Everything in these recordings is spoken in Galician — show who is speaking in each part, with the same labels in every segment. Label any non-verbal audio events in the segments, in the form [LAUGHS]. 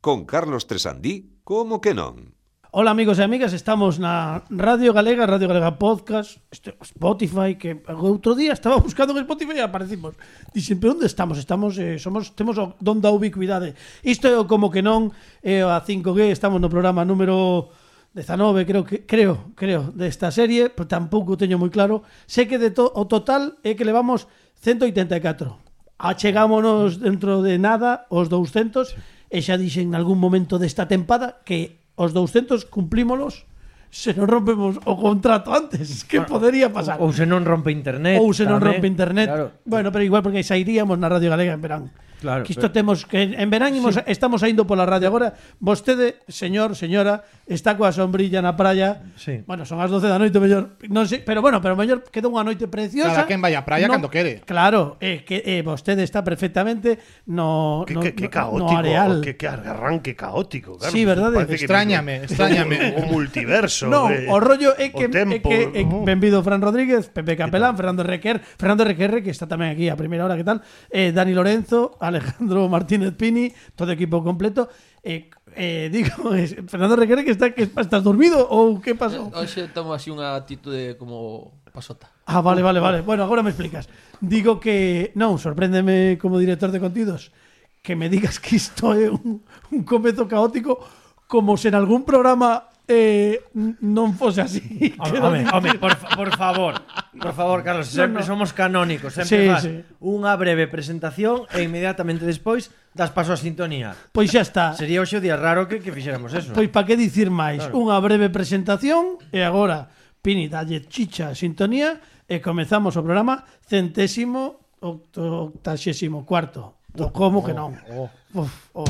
Speaker 1: con Carlos Tresandí, como que non?
Speaker 2: Ola amigos e amigas, estamos na Radio Galega, Radio Galega Podcast, este, Spotify, que outro día estaba [LAUGHS] buscando en Spotify e aparecimos. Dixen, pero onde estamos? Estamos, eh, somos, temos o don da ubicuidade. Isto é o como que non, eh, a 5G, estamos no programa número 19, creo que creo, creo, desta serie, pero tampouco o teño moi claro. Sei que de to, o total é que levamos 184. Achegámonos dentro de nada os 200 e xa dixen en algún momento desta tempada que os 200 cumprímolos se nos rompemos o contrato antes. Que bueno, podería pasar?
Speaker 3: Ou se non rompe internet.
Speaker 2: Ou se non
Speaker 3: tamén.
Speaker 2: rompe internet.
Speaker 3: Claro.
Speaker 2: Bueno, pero igual porque sairíamos na Radio Galega en verán.
Speaker 3: Claro,
Speaker 2: que isto temos que en verán imos, estamos saindo pola radio agora. Vostede, señor, señora, está coa sombrilla na praia.
Speaker 3: Sí.
Speaker 2: Bueno, son as 12 da noite, mellor, non sei, pero bueno, pero mellor queda unha noite preciosa.
Speaker 4: Cada quen vai á praia cando quere.
Speaker 2: Claro, eh, que eh, vostede está perfectamente no
Speaker 5: Qué,
Speaker 2: no,
Speaker 5: qué- qué
Speaker 2: no- no
Speaker 5: caótico,
Speaker 2: areal.
Speaker 5: qué, qué arranque caótico. Carlos.
Speaker 2: Sí, ¿verdad?
Speaker 5: Parece que
Speaker 4: Extrañame,
Speaker 5: es un-
Speaker 4: extrañame.
Speaker 5: Un, un multiverso.
Speaker 2: [LAUGHS] No,
Speaker 5: eh,
Speaker 2: o rollo é que, eh,
Speaker 5: o
Speaker 2: é
Speaker 5: tempo,
Speaker 2: que é,
Speaker 5: ¿no?
Speaker 2: benvido Fran Rodríguez, Pepe Capelán, Fernando Requer, Fernando Requerre, que está tamén aquí a primeira hora, que tal? Eh, Dani Lorenzo, [LAUGHS] Alejandro Martínez Pini, todo o equipo completo. Eh, eh, digo, [LAUGHS] es- Fernando Requerre que está que estás dormido ou que pasou?
Speaker 6: Eh, Hoxe tomo así unha actitude como pasota.
Speaker 2: Ah, vale, vale, vale. Bueno, agora me explicas. Digo que non, sorpréndeme como director de contidos que me digas que isto é un, un comezo caótico como se en algún programa eh, n- non fose así.
Speaker 3: Home, home, home, por, fa- por favor, por favor, Carlos, sempre
Speaker 2: no.
Speaker 3: somos canónicos,
Speaker 2: Sí,
Speaker 3: sempre faz
Speaker 2: sí.
Speaker 3: unha breve presentación e inmediatamente despois das paso a sintonía.
Speaker 2: Pois xa está.
Speaker 3: Sería hoxe o día raro que, que fixéramos eso.
Speaker 2: Pois para que dicir máis?
Speaker 3: Claro.
Speaker 2: Unha breve presentación e agora Pini dalle chicha a sintonía e comezamos o programa centésimo octo- octaxésimo cuarto.
Speaker 3: Oh,
Speaker 2: Do como que non. Uf, oh.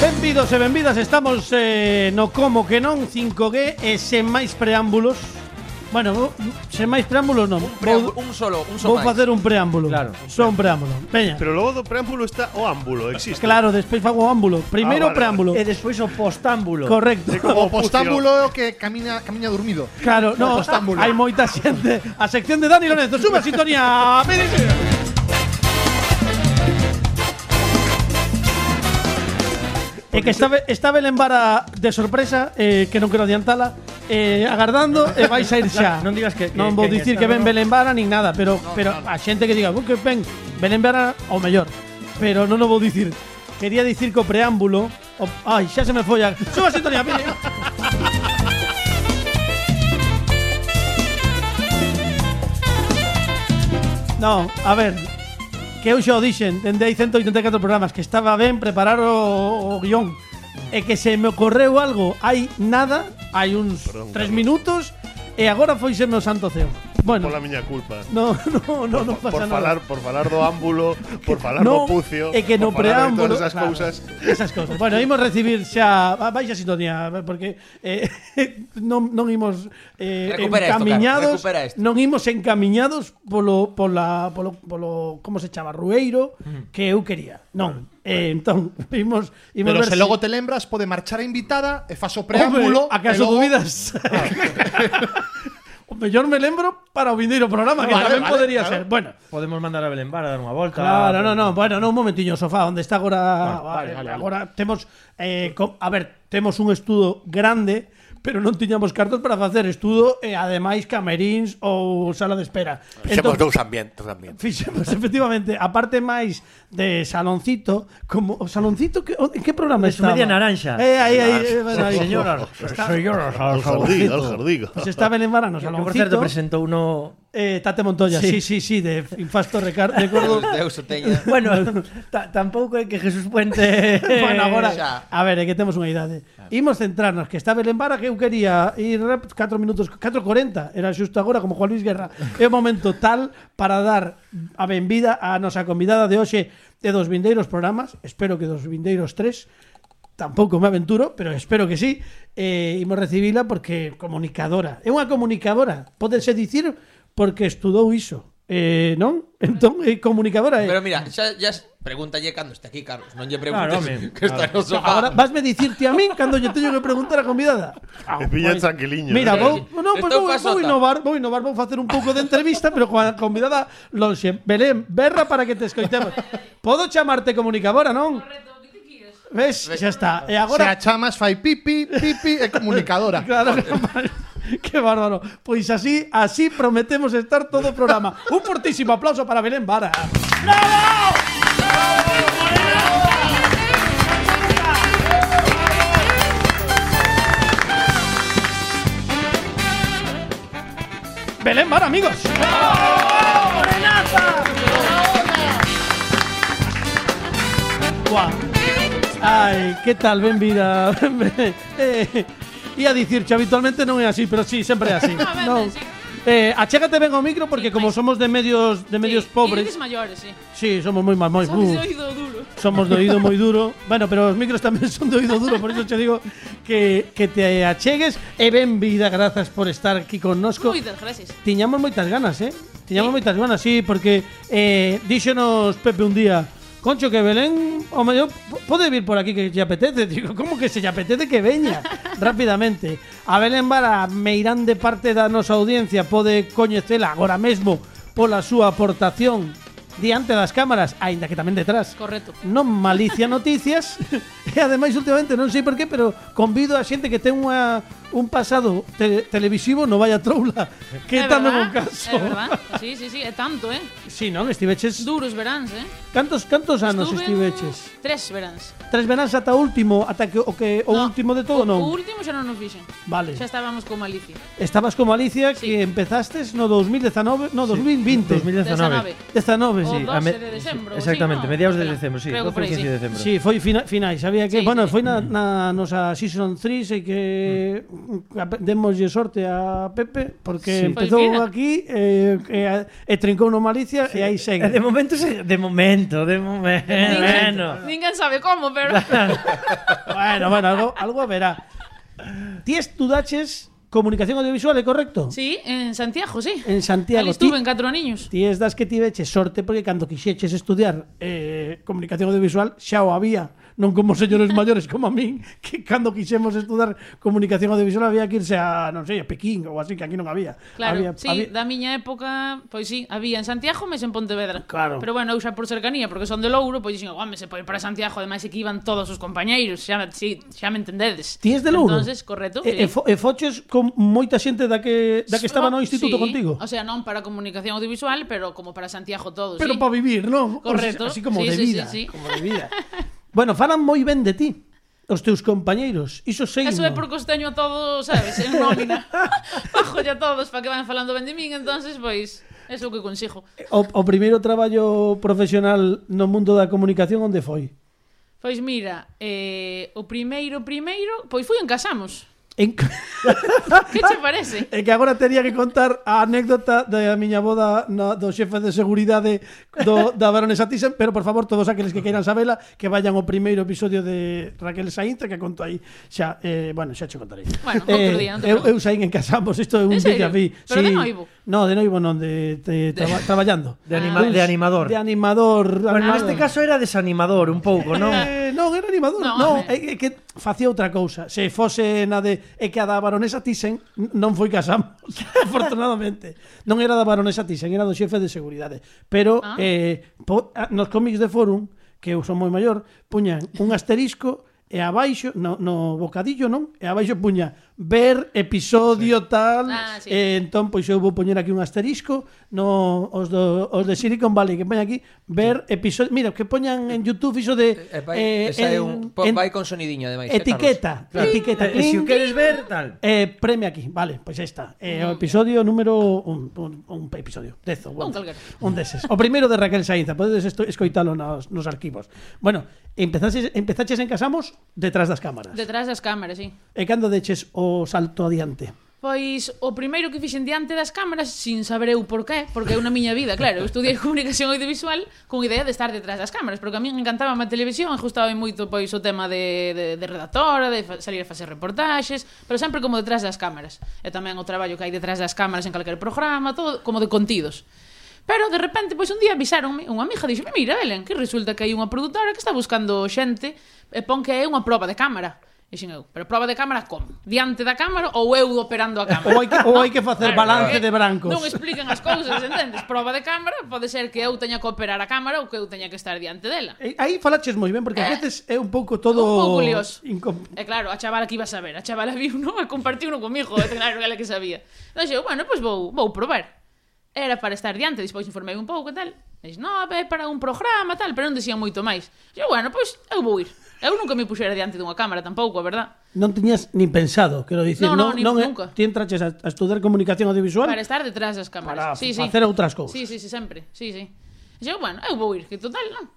Speaker 2: Benvidos e benvidas, estamos eh, no como que non 5G e sen máis preámbulos. Bueno, vou- sen máis preámbulos non.
Speaker 6: Preambu-
Speaker 2: Vou,
Speaker 6: un solo, un solo
Speaker 2: vou
Speaker 6: [LAUGHS]
Speaker 2: facer un preámbulo.
Speaker 3: Claro.
Speaker 2: Son preámbulo. Veña.
Speaker 5: Pero luego do preámbulo está o ámbulo, existe.
Speaker 2: Claro, despois fago ámbulo. Primeiro
Speaker 5: vale, vale.
Speaker 2: preámbulo.
Speaker 3: Ah, E despois o postámbulo.
Speaker 2: Correcto. [LAUGHS]
Speaker 4: O postámbulo é o que camina, camiña dormido.
Speaker 2: Claro, no,
Speaker 4: postámbulo.
Speaker 2: hai moita xente. A sección de Dani Lorenzo, sube a sintonía. Mírense. É que estaba, estaba lembrar a, de sorpresa eh, Que non quero adiantala eh, Agardando e vais a ir xa
Speaker 3: [LAUGHS] Non digas que- que-
Speaker 2: Non vou
Speaker 3: que
Speaker 2: dicir
Speaker 3: está,
Speaker 2: que ven
Speaker 3: no, no.
Speaker 2: Belén Vara nin nada Pero, pero a xente que diga "Bu, que ven Belén Vara o mellor Pero non o vou dicir Quería dicir co preámbulo o, Ai, xa se me folla Suba a sintonía, mire No, a ver Que eu xa o dixen Dende hai 184 programas Que estaba ben preparar o, o guión E que se me ocorreu algo Hai nada Hai uns 3 minutos E agora foi serme o santo ceo Bueno
Speaker 5: Por la miña culpa.
Speaker 2: No, [LAUGHS] no, no, no
Speaker 5: por
Speaker 2: pasa nada
Speaker 5: falar, por falar do ámbulo, por falar do pucio,
Speaker 2: é que no
Speaker 5: por falar de
Speaker 2: preámbulo,
Speaker 5: todas esas
Speaker 2: claro,
Speaker 5: cousas.
Speaker 2: Esas cousas. Bueno, imos recibir xa ah, vais a sintonía porque eh, [LAUGHS] non non imos eh,
Speaker 6: Recupera esto,
Speaker 2: encaminhados,
Speaker 6: Carlos, recupera esto.
Speaker 2: non imos encaminhados polo pola polo polo como se chama rueiro que eu quería. Non. Eh, entón [LAUGHS] imos imos
Speaker 4: Pero
Speaker 2: ver si-
Speaker 4: se
Speaker 2: [LAUGHS]
Speaker 4: logo te lembras, pode marchar a invitada
Speaker 2: eh,
Speaker 4: e fas o
Speaker 2: Hombre,
Speaker 4: preámbulo.
Speaker 2: acaso
Speaker 4: e logo- Ah.
Speaker 2: dubidas? [LAUGHS] o mellor me lembro para o vindeiro programa que
Speaker 4: Vale,
Speaker 2: tamén
Speaker 4: vale,
Speaker 2: podería
Speaker 4: claro.
Speaker 2: ser. Bueno,
Speaker 3: Podemos mandar a Belén Vara a dar unha volta.
Speaker 2: Claro, no, no, bueno, no, un momentiño, sofá, onde está agora
Speaker 4: Vale, vale, vale,
Speaker 2: agora temos eh, co- a ver, temos un estudo grande, pero non tiñamos cartos para facer estudo e ademais cameríns ou sala de espera.
Speaker 7: Fixemos
Speaker 2: Entón-
Speaker 7: dous ambientes tamén.
Speaker 2: Fixemos, [LAUGHS] efectivamente, a parte máis de Saloncito, como o Saloncito, que, o- en que programa
Speaker 3: De su
Speaker 2: estaba?
Speaker 3: media naranja.
Speaker 2: Eh, aí, aí, eh, bueno, aí.
Speaker 3: Señora, señora,
Speaker 5: Al jardín, al jardín.
Speaker 2: Pues
Speaker 5: [LAUGHS]
Speaker 2: está Belén Vara no
Speaker 3: Que, por
Speaker 2: Saloncito.
Speaker 3: certo, presentou no...
Speaker 2: [LAUGHS] Eh, Tate Montoya, sí,
Speaker 3: Sí.
Speaker 2: sí, sí, de Infasto Recar, recordo
Speaker 6: Deus o
Speaker 2: [LAUGHS]
Speaker 6: teña.
Speaker 3: Bueno, ta- tampouco é que Jesús [LAUGHS] Puente...
Speaker 2: bueno, agora,
Speaker 6: xa.
Speaker 2: a ver, é que temos unha idade. Imos centrarnos, que está Belén Vara, que eu quería ir rap- 4 minutos, 4.40, era xusto agora, como Juan Luis Guerra. É o momento tal para dar a benvida a nosa convidada de hoxe de dos vindeiros programas, espero que dos vindeiros tres, tampouco me aventuro, pero espero que sí, eh, imos recibila porque comunicadora. É unha comunicadora, podese dicir porque estudou iso. Eh, non? Entón, é comunicadora.
Speaker 6: Pero
Speaker 2: É.
Speaker 6: mira, xa, xa pregúntalle cando está aquí, Carlos. Non lle
Speaker 3: Claro,
Speaker 6: preguntes
Speaker 3: home,
Speaker 6: que está no sofá.
Speaker 2: Ahora vasme dicirte a min cando lle teño que preguntar a convidada.
Speaker 5: E pilla tranquiliño.
Speaker 2: Mira,
Speaker 5: eh.
Speaker 2: vou, no, pois vou,
Speaker 6: Estou
Speaker 2: vou
Speaker 6: pasota.
Speaker 2: innovar, vou innovar, vou facer un pouco de entrevista, pero coa convidada lonxe. Belén, berra para que te escoitemos. Podo chamarte comunicadora, non?
Speaker 7: Correcto, o que ti quieres?
Speaker 2: Ves? Xa está. E agora
Speaker 4: Agora... Se a chamas fai pipi, pipi e comunicadora.
Speaker 2: [LAUGHS] Claro, que mal. qué bárbaro. Pois así, así prometemos estar todo o programa. Un fortísimo aplauso para Belén Vara. Belén Vara, amigos. Guau. Ai, que tal, ben vida [LAUGHS] eh, Ia dicirche, habitualmente non é así Pero sí, sempre é
Speaker 7: [LAUGHS]
Speaker 2: así
Speaker 7: Normalmente,
Speaker 2: non.
Speaker 7: sí.
Speaker 2: Eh, achégate ben ao micro Porque
Speaker 7: Sí,
Speaker 2: como
Speaker 7: pois.
Speaker 2: somos de medios de medios
Speaker 7: sí.
Speaker 2: pobres
Speaker 7: Ides maiores, sí.
Speaker 2: Sí, somos moi mal moi,
Speaker 7: Sabes,
Speaker 2: uh,
Speaker 7: oído duro.
Speaker 2: Somos de oído
Speaker 7: [LAUGHS]
Speaker 2: moi duro Bueno, pero os micros tamén son de oído duro Por iso che digo que, que te achegues E ben vida, grazas por estar aquí connosco
Speaker 7: Moitas gracias.
Speaker 2: Tiñamos moitas ganas, eh? Tiñamos moitas ganas, sí, porque eh, díxonos Pepe un día Concho, que Belén, o mellor, po- pode vir por aquí que lle apetece [LAUGHS] Digo, como que se lle apetece que veña? Rápidamente A Belén Vara, meirán de parte da nosa audiencia Pode coñecela agora mesmo pola súa aportación Diante das cámaras, aínda que tamén detrás
Speaker 7: Correcto.
Speaker 2: non malicia noticias [LAUGHS] e ademais últimamente non sei por qué, pero convido a xente que ten unha un pasado te- televisivo no vaya
Speaker 7: [LAUGHS]
Speaker 2: troula, que
Speaker 7: É
Speaker 2: tamén
Speaker 7: verdad,
Speaker 2: un caso.
Speaker 7: É verdad. Sí, sí, sí, é tanto, eh?
Speaker 2: Si, non, estiveches
Speaker 7: Duros veráns, eh?
Speaker 2: cantos cantos anos
Speaker 7: Estuve
Speaker 2: estiveches?
Speaker 7: Tres veráns.
Speaker 2: Tres veráns ata o último, ata que o que o
Speaker 7: No,
Speaker 2: último de todo
Speaker 7: o,
Speaker 2: non.
Speaker 7: O último xa non nos fixen.
Speaker 2: Oh, Vale.
Speaker 7: Xa estábamos con Malicia.
Speaker 2: Estabas como Alicia
Speaker 7: Sí.
Speaker 2: que empezastes no 2019, no 2020.
Speaker 3: 2019.
Speaker 2: 19,
Speaker 7: O
Speaker 2: sí.
Speaker 7: doce de decembro,
Speaker 3: Exactamente,
Speaker 7: sí, ¿no?
Speaker 3: mediados de
Speaker 7: Espera,
Speaker 3: decembro, sí.
Speaker 7: creo
Speaker 3: 12
Speaker 7: que
Speaker 3: o
Speaker 7: por ahí,
Speaker 3: 15 de
Speaker 7: sí.
Speaker 3: decembro.
Speaker 2: Sí, foi fina, finais, sabía que,
Speaker 7: Sí,
Speaker 2: bueno,
Speaker 7: sí,
Speaker 2: foi na, na nosa Season 3 e que mm. demoslle sorte a Pepe porque
Speaker 3: Sí.
Speaker 2: empezou
Speaker 7: Pois mira.
Speaker 2: aquí eh, e, e trincou no Malicia [LAUGHS] e aí
Speaker 3: Eh, De
Speaker 2: segue.
Speaker 3: momento, se- de momento, de momento.
Speaker 7: Ninguén-
Speaker 3: bueno.
Speaker 7: Ninguén sabe como, pero...
Speaker 2: bueno, bueno, algo, algo verá. Ti estudaches comunicación audiovisual, é correcto?
Speaker 7: [LAUGHS] sí, en Santiago, sí.
Speaker 2: En Santiago.
Speaker 7: Ali estuve
Speaker 2: Ti-
Speaker 7: en catro niños.
Speaker 2: Ti es das que tiveche sorte porque cando quixeches estudiar eh, comunicación audiovisual xa o había, non como
Speaker 7: [LAUGHS]
Speaker 2: señores maiores como a min, que cando quixemos estudar comunicación audiovisual había que irse a, non sei, a Pekín ou así, que aquí non había.
Speaker 7: Claro,
Speaker 2: había,
Speaker 7: sí,
Speaker 2: había-
Speaker 7: da miña época, pois sí, había en Santiago, mes en Pontevedra.
Speaker 2: Claro.
Speaker 7: Pero bueno, eu xa por cercanía, porque son de Louro, pois dixen, "Home, se pode ir para Santiago", ademais é que iban todos os compañeiros, xa, sí, xa me entendedes.
Speaker 2: Ti es de Louro?
Speaker 7: Entonces, correcto.
Speaker 2: E, e, fo, e foches con moita xente da que, Eh, da que estaba no instituto
Speaker 7: ah, sí.
Speaker 2: contigo.
Speaker 7: O sea, non para comunicación audiovisual, pero como para Santiago todos,
Speaker 2: Pero
Speaker 7: sí.
Speaker 2: para vivir, non? O
Speaker 7: Correcto.
Speaker 2: sea, así como
Speaker 7: Sí,
Speaker 2: de
Speaker 7: sí, sí,
Speaker 2: vida.
Speaker 7: sí.
Speaker 2: Como de vida. bueno, falan moi ben de ti. Os teus compañeiros. Iso sei.
Speaker 7: Eso é porque os teño a todos, sabes, en
Speaker 2: [LAUGHS]
Speaker 7: nómina. [LAUGHS] Bajo a todos para que van falando ben de min, entonces, pois, é o que consigo.
Speaker 2: O, o primeiro traballo profesional no mundo da comunicación onde foi?
Speaker 7: Pois mira, eh, o primeiro, primeiro, pois fui en
Speaker 2: [LAUGHS]
Speaker 7: Casamos.
Speaker 2: En...
Speaker 7: Que che parece?
Speaker 2: É que agora tería que contar a anécdota da miña boda na, do xefe de seguridade do, da Baronesa Thyssen, pero por favor, todos aqueles que queiran sabela, que vayan ao primeiro episodio de Raquel Sainz, que conto aí xa, eh, bueno, xa che contarei.
Speaker 7: Bueno, outro
Speaker 2: eh,
Speaker 7: día, non te
Speaker 2: eu, eu
Speaker 7: preocupes.
Speaker 2: saín en casamos, isto é un
Speaker 7: En
Speaker 2: día
Speaker 7: serio?
Speaker 2: vi.
Speaker 7: Pero de noivo?
Speaker 2: No, de noivo non, de, de, traba, traballando.
Speaker 3: De anima- de animador.
Speaker 2: De animador.
Speaker 3: Bueno,
Speaker 2: animador.
Speaker 3: neste caso era desanimador un pouco,
Speaker 7: [LAUGHS]
Speaker 3: non?
Speaker 2: [LAUGHS] Eh, non, era animador.
Speaker 7: No,
Speaker 2: No, é, é
Speaker 7: home.
Speaker 2: que facía outra cousa. Se fose na de é que a da baronesa Thyssen non foi casamos, [LAUGHS] afortunadamente. Non era da baronesa Thyssen, era do xefe de seguridade. Pero
Speaker 7: Ah.
Speaker 2: eh, po, a, nos cómics de Forum, que eu son moi maior, puñan un asterisco e abaixo, no, no bocadillo, non? E abaixo puña ver episodio tal.
Speaker 7: Ah, sí.
Speaker 2: E entón, pois eu vou poñer aquí un asterisco no, os, do, os de Silicon Valley que poñan aquí, ver episodios... Mira, que poñan en Youtube iso de
Speaker 6: Eh, vai,
Speaker 2: eh,
Speaker 6: esa é
Speaker 2: en-
Speaker 6: un, po-
Speaker 2: en-
Speaker 6: vai con sonidinho ademais. eh,
Speaker 2: etiqueta, etiqueta.
Speaker 3: Eh, se o
Speaker 2: clink,
Speaker 3: queres ver, tal.
Speaker 2: eh, premio aquí, vale, pois aí está. Eh, o episodio número un, un, un episodio, dezo, bueno,
Speaker 7: calquera.
Speaker 2: un deses. O primeiro de Raquel Sainza, podedes esto, escoitalo nos, nos arquivos. Bueno, empezaches, empezaches en Casamos detrás das cámaras.
Speaker 7: Detrás das cámaras, sí.
Speaker 2: E cando deches o salto adiante?
Speaker 7: Pois o primeiro que fixen diante das cámaras sin saber eu porqué, porque é unha miña vida, claro, eu estudiei [LAUGHS] comunicación audiovisual con idea de estar detrás das cámaras, porque a min encantaba a televisión, gustaba moito pois o tema de, de, de redactora, de fa- salir a facer reportaxes, pero sempre como detrás das cámaras. E tamén o traballo que hai detrás das cámaras en calquer programa, todo como de contidos. Pero de repente, pois un día avisaronme, unha amiga dixome, mira, Belén, que resulta que hai unha produtora que está buscando xente e pon que é unha proba de cámara. E xin eu, pero proba de cámara como? Diante da cámara ou eu operando a cámara?
Speaker 2: Ou hai que- ou hai que facer balance
Speaker 7: porque
Speaker 2: de brancos.
Speaker 7: eh, Non explican as cousas, entendes? Proba de cámara, pode ser que eu teña que operar a cámara ou que eu teña que estar diante dela.
Speaker 2: E Eh, Aí falaches moi ben, porque a veces é un pouco todo...
Speaker 7: Un pouco lioso.
Speaker 2: incom-
Speaker 7: E claro, a chavala que iba a saber, a chavala viu, non? E compartiu non comigo, e claro, ela que sabía. Entón, eu, bueno, pois vou, vou probar. Era para estar diante, despois informei un pouco e tal. Dix, no, é para un programa tal, pero non dicían moito máis. E Eu, bueno, pois eu vou ir. Eu nunca me puxera diante dunha cámara tampouco, a verdad.
Speaker 2: Non tiñas nin pensado, quero dicir.
Speaker 7: No,
Speaker 2: non,
Speaker 7: no, nin-
Speaker 2: non é-
Speaker 7: nunca.
Speaker 2: Ti entraches a, a estudar comunicación audiovisual
Speaker 7: Para estar detrás das
Speaker 2: para
Speaker 7: cámaras. sí, sí.
Speaker 2: facer outras cousas.
Speaker 7: Sí, sí, sí, sempre. Sí, sí. E Eu, bueno, eu vou ir, que total, non.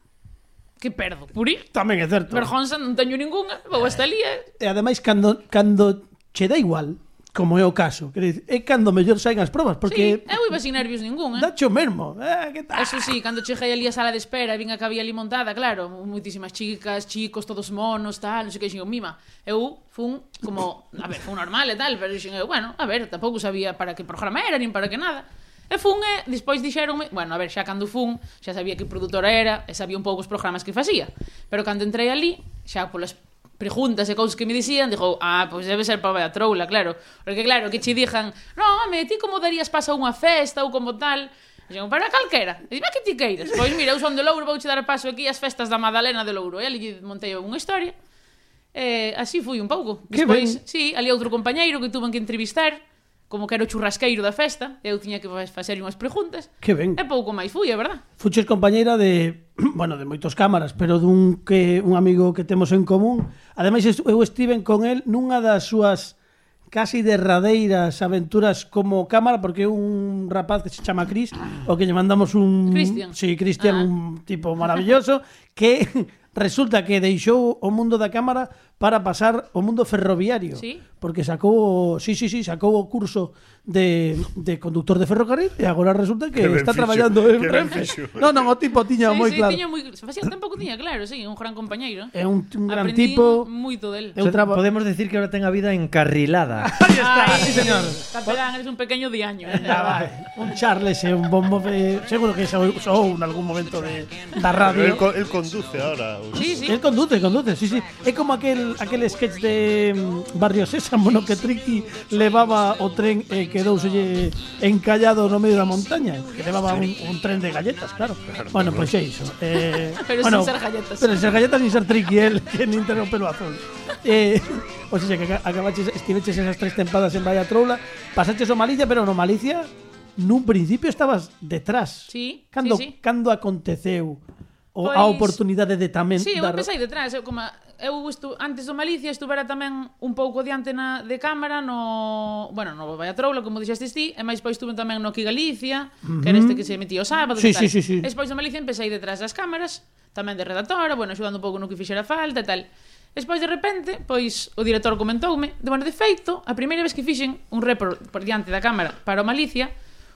Speaker 7: Que perdo, por ir.
Speaker 2: Tamén é certo.
Speaker 7: Vergonza non teño ningunha, vou hasta ali
Speaker 2: E
Speaker 7: e
Speaker 2: ademais, cando, cando che dá igual, como é o caso, quero dicir, é cando mellor saen as probas, porque
Speaker 7: Sí, eu iba sin nervios ningún, eh?
Speaker 2: dache o mesmo. Eh, que tal?
Speaker 7: Eso sí, cando chegei ali a sala de espera, e vin a que había ali montada, claro, moitísimas chicas, chicos, todos monos, tal, non sei que, xingo, mima. Eu fun como, a ver, fun normal e tal, pero xingo, eu, bueno, a ver, tampouco sabía para que programa era, nin para que nada. E fun e despois dixéronme, bueno, a ver, xa cando fun, xa sabía que produtora era, e sabía un pouco os programas que facía. Pero cando entrei ali, xa polas preguntas e cousas que me dicían, dixo, ah, pois debe ser para a troula, claro. Porque claro, que che dixan, non, home, ti como darías paso a unha festa ou como tal? E dixo, para calquera. E dime que ti queiras. Pois mira, eu son de Louro, vou che dar paso aquí ás festas da Madalena de Louro. E ali lle montei eu unha historia. E así fui un pouco.
Speaker 2: Que
Speaker 7: Despois,
Speaker 2: ben.
Speaker 7: sí, ali outro compañeiro que tuven que entrevistar, como que era o churrasqueiro da festa, e eu tiña que fa- facer unhas preguntas.
Speaker 2: Que ben.
Speaker 7: E pouco máis fui, é verdad.
Speaker 2: Fuches compañeira de, [CLEARS THROAT] bueno, de moitos cámaras, pero dun que un amigo que temos en común. Ademais est- eu estiven con el nunha das súas casi derradeiras aventuras como cámara porque é un rapaz que se chama Cris, o que lle mandamos un
Speaker 7: Cristian.
Speaker 2: Sí, Cristian,
Speaker 7: Ah.
Speaker 2: un tipo maravilloso que [LAUGHS] resulta que deixou o mundo da cámara para pasar o mundo ferroviario.
Speaker 7: Sí.
Speaker 2: Porque sacou, sí, sí, sí, sacou o curso de, de conductor de ferrocarril e agora resulta que
Speaker 5: Que ben
Speaker 2: está
Speaker 5: fixo,
Speaker 2: traballando en
Speaker 5: que ben
Speaker 2: Renfe.
Speaker 5: fixo.
Speaker 2: No, non, o tipo tiña
Speaker 7: sí,
Speaker 2: moi
Speaker 7: sí,
Speaker 2: claro.
Speaker 7: tiña moi... Se facía tampouco tiña, claro, sí, un gran compañeiro.
Speaker 2: É un, un gran
Speaker 7: Aprendín
Speaker 2: tipo.
Speaker 7: moito del.
Speaker 2: Eu traba-
Speaker 3: Podemos decir que ahora tenga vida
Speaker 7: [LAUGHS]
Speaker 3: encarrilada.
Speaker 2: Aí está,
Speaker 7: Ai,
Speaker 2: sí, señor.
Speaker 7: Capelán, eres un pequeño
Speaker 2: [LAUGHS]
Speaker 7: diaño. eh.
Speaker 2: Ah, vai. Un Charles e un bombo eh, seguro que sou, sou en algún momento de, da
Speaker 5: Pero
Speaker 2: radio.
Speaker 5: él, co- él conduce ahora.
Speaker 7: Sí, sí.
Speaker 2: El conduce, conduce, sí, sí. É como aquel aquel sketch de mm, Barrio Sésamo no que Triqui levaba o tren eh, e quedouselle encallado no medio da montaña, que levaba un, un tren de galletas, claro. Bueno, pois é iso. Eh,
Speaker 7: [LAUGHS] Pero
Speaker 2: bueno,
Speaker 7: sin ser galletas.
Speaker 2: Pero sin ser galletas sin ser Triqui, [LAUGHS] el que nin ter o pelo azul. Eh, o sea, que aca- acabaches, estiveches esas tres tempadas en Valla Troula, pasaches o Malicia, pero no Malicia, nun principio estabas detrás.
Speaker 7: Sí,
Speaker 2: Cando,
Speaker 7: sí, sí.
Speaker 2: cando aconteceu o, a
Speaker 7: Pois-
Speaker 2: oportunidade de tamén
Speaker 7: Sí, eu
Speaker 2: dar-
Speaker 7: empecé aí detrás, eu como eu estu, antes do Malicia estuvera tamén un pouco diante na de cámara no, bueno, no Vaya Troula, como dixestes ti, e máis pois estuve tamén no Aquí Galicia, que era este que se metía o sábado
Speaker 2: Sí,
Speaker 7: e tal.
Speaker 2: sí, sí, sí.
Speaker 7: E despois do Malicia empecé aí detrás das cámaras, tamén de redactora, bueno, axudando un pouco no que fixera falta e tal. Despois de repente, pois o director comentoume, de bueno, de feito, a primeira vez que fixen un repro por diante da cámara para o Malicia,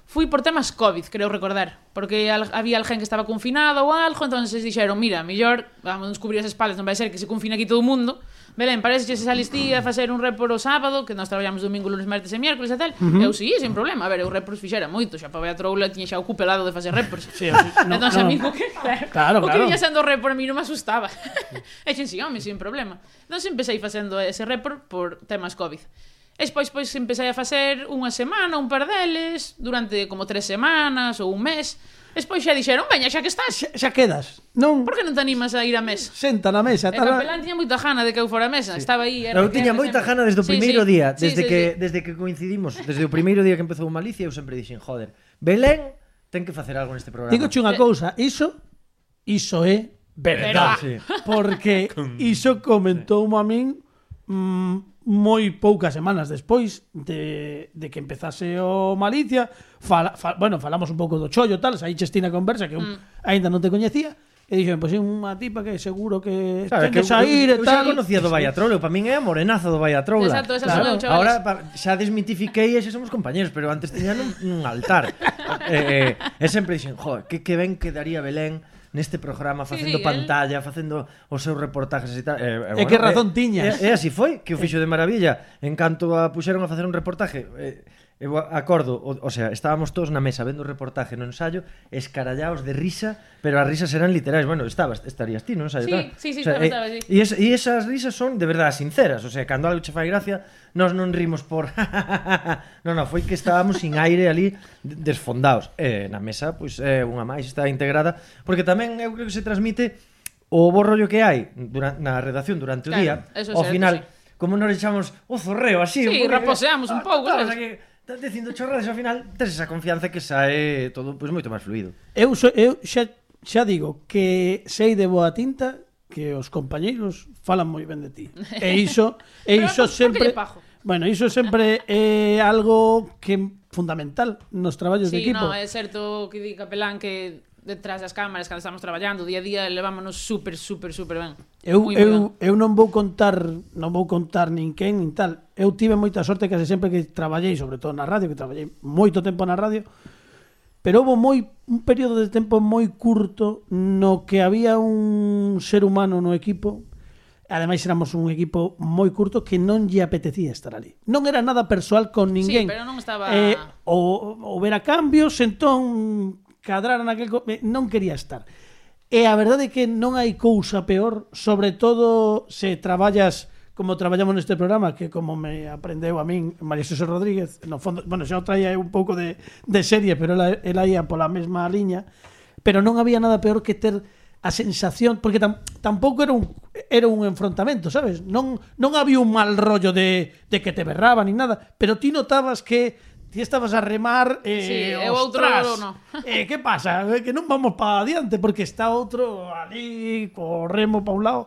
Speaker 7: fui por temas COVID, creo recordar, porque al, había alguén que estaba confinado ou algo, entonces dixeron, mira, mellor vamos descubrir as espaldas, non vai ser que se confina aquí todo o mundo. Belén, parece que se sales ti a facer un repro o sábado, que nós traballamos domingo, lunes, martes e miércoles e tal. Uh -huh. Eu sí, sin problema. A ver, eu repros fixera moito, xa para ver a troula tiña xa o cupelado de facer repros.
Speaker 2: Sí, o
Speaker 7: [LAUGHS]
Speaker 2: sea,
Speaker 7: No,
Speaker 2: no,
Speaker 7: entón,
Speaker 2: no.
Speaker 7: a mí o que, claro,
Speaker 2: Claro,
Speaker 7: o que
Speaker 2: claro.
Speaker 7: viña sendo repor a mí non me asustaba. [LAUGHS] e xen, sí, home, sin problema. Entón, empecéi facendo ese repor por temas COVID. E despois, pois, empecéi a facer unha semana, un par deles, durante como tres semanas ou un mes. E despois xa dixeron, veña, xa que estás,
Speaker 2: Xa, xa quedas. Non,
Speaker 7: por que non te animas a ir a mesa?
Speaker 2: senta na mesa,
Speaker 7: E
Speaker 2: tal.
Speaker 7: Capelán tiña moita gana de que eu fora a mesa, estaba aí. era
Speaker 3: Eu tiña
Speaker 7: sempre.
Speaker 3: moita gana desde o
Speaker 7: Sí,
Speaker 3: primeiro
Speaker 7: sí.
Speaker 3: día,
Speaker 7: Sí,
Speaker 3: desde
Speaker 7: sí,
Speaker 3: que
Speaker 7: sí.
Speaker 3: desde que coincidimos, desde o primeiro día que empezou o Malicia, eu sempre dixen, joder, Belén ten que facer algo neste programa.
Speaker 2: Digo unha cousa, iso iso é verdade.
Speaker 3: Sí. [LAUGHS]
Speaker 2: Porque iso comentou a min mm, moi poucas semanas despois de, de que empezase o Malicia, fala, fa, bueno, falamos un pouco do chollo tal, aí chestina conversa que eu mm. aínda non te coñecía, E dixen, pois é unha tipa que seguro que
Speaker 3: Sabe,
Speaker 2: ten que,
Speaker 3: que
Speaker 2: sair e
Speaker 3: eu, eu xa
Speaker 2: tal.
Speaker 3: conocía do Vallatrolo, para min é a morenaza do Vallatrolo.
Speaker 7: Exacto, esa son eu, chavales.
Speaker 3: Ahora pa, xa desmitifiquei e xa somos compañeros, pero antes tiñan un, un
Speaker 7: [LAUGHS]
Speaker 3: altar. eh, eh, e sempre dixen, jo, que, que ben quedaría Belén neste programa
Speaker 7: Sí,
Speaker 3: facendo
Speaker 7: sí,
Speaker 3: pantalla, facendo os seus reportajes e tal.
Speaker 2: E
Speaker 3: Eh,
Speaker 2: que razón tiñas. Eh.
Speaker 3: E, e así foi, que o fixo de maravilla. En canto a puxeron a facer un reportaje, eh, eu a- acordo, o, o sea, estábamos todos na mesa vendo o reportaje no ensayo, escarallaos de risa, pero as risas eran literais. Bueno, estabas, estarías ti no ensayo,
Speaker 7: Sí,
Speaker 3: tal.
Speaker 7: sí, sí,
Speaker 3: o sea,
Speaker 7: estaba,
Speaker 3: eh,
Speaker 7: estaba, sí.
Speaker 3: E, es, e esas risas son de verdade sinceras, o sea, cando algo che fai gracia, nós non rimos por [LAUGHS] No, no, foi que estábamos sin aire ali de- desfondados. Eh, na mesa, pois é unha máis está integrada, porque tamén eu creo que se transmite o bo rollo que hai durante, na redacción durante o
Speaker 7: Claro,
Speaker 3: día.
Speaker 7: eso é
Speaker 3: ao
Speaker 7: certo,
Speaker 3: final,
Speaker 7: sí.
Speaker 3: como non echamos o zorreo así,
Speaker 7: Sí,
Speaker 3: porque-
Speaker 7: raposeamos un pouco,
Speaker 3: Ah,
Speaker 7: sabes?
Speaker 3: que estás dicindo chorradas e ao final tes esa confianza que sae todo pois moito máis fluido.
Speaker 2: Eu, so, eu xa, xa digo que sei de boa tinta que os compañeiros falan moi ben de ti. E iso, e
Speaker 7: [LAUGHS] Pero
Speaker 2: iso
Speaker 7: por- por que
Speaker 2: sempre
Speaker 7: lle pajo?
Speaker 2: Bueno, iso sempre é algo que é fundamental nos traballos de
Speaker 7: Sí,
Speaker 2: equipo.
Speaker 7: no, é certo que di Capelán que detrás das cámaras cando estamos traballando día a día levámonos super, super, super ben.
Speaker 2: Eu,
Speaker 7: Moi, moi ben.
Speaker 2: eu, eu non vou contar non vou contar nin quen nin tal eu tive moita sorte case sempre que traballei sobre todo na radio, que traballei moito tempo na radio pero houve moi un período de tempo moi curto no que había un ser humano no equipo ademais éramos un equipo moi curto que non lle apetecía estar ali non era nada persoal con ninguén
Speaker 7: pero non estaba-
Speaker 2: eh, o, o ver a cambios entón cadrar naquel co- eh, non quería estar e a verdade é que non hai cousa peor sobre todo se traballas como traballamos neste programa que como me aprendeu a min María Xosé Rodríguez no fondo, bueno, xa o traía eu un pouco de, de serie pero ela, ela ia pola mesma liña pero non había nada peor que ter a sensación porque tam, tampouco era un era un enfrontamento, sabes? Non non había un mal rollo de, de que te berraban ni nada, pero ti notabas que ti estabas a remar eh,
Speaker 7: Sí, e o outro
Speaker 2: "Ostras,
Speaker 7: non".
Speaker 2: eh, que pasa? Eh, Que non vamos para adiante porque está outro ali co remo para un lado.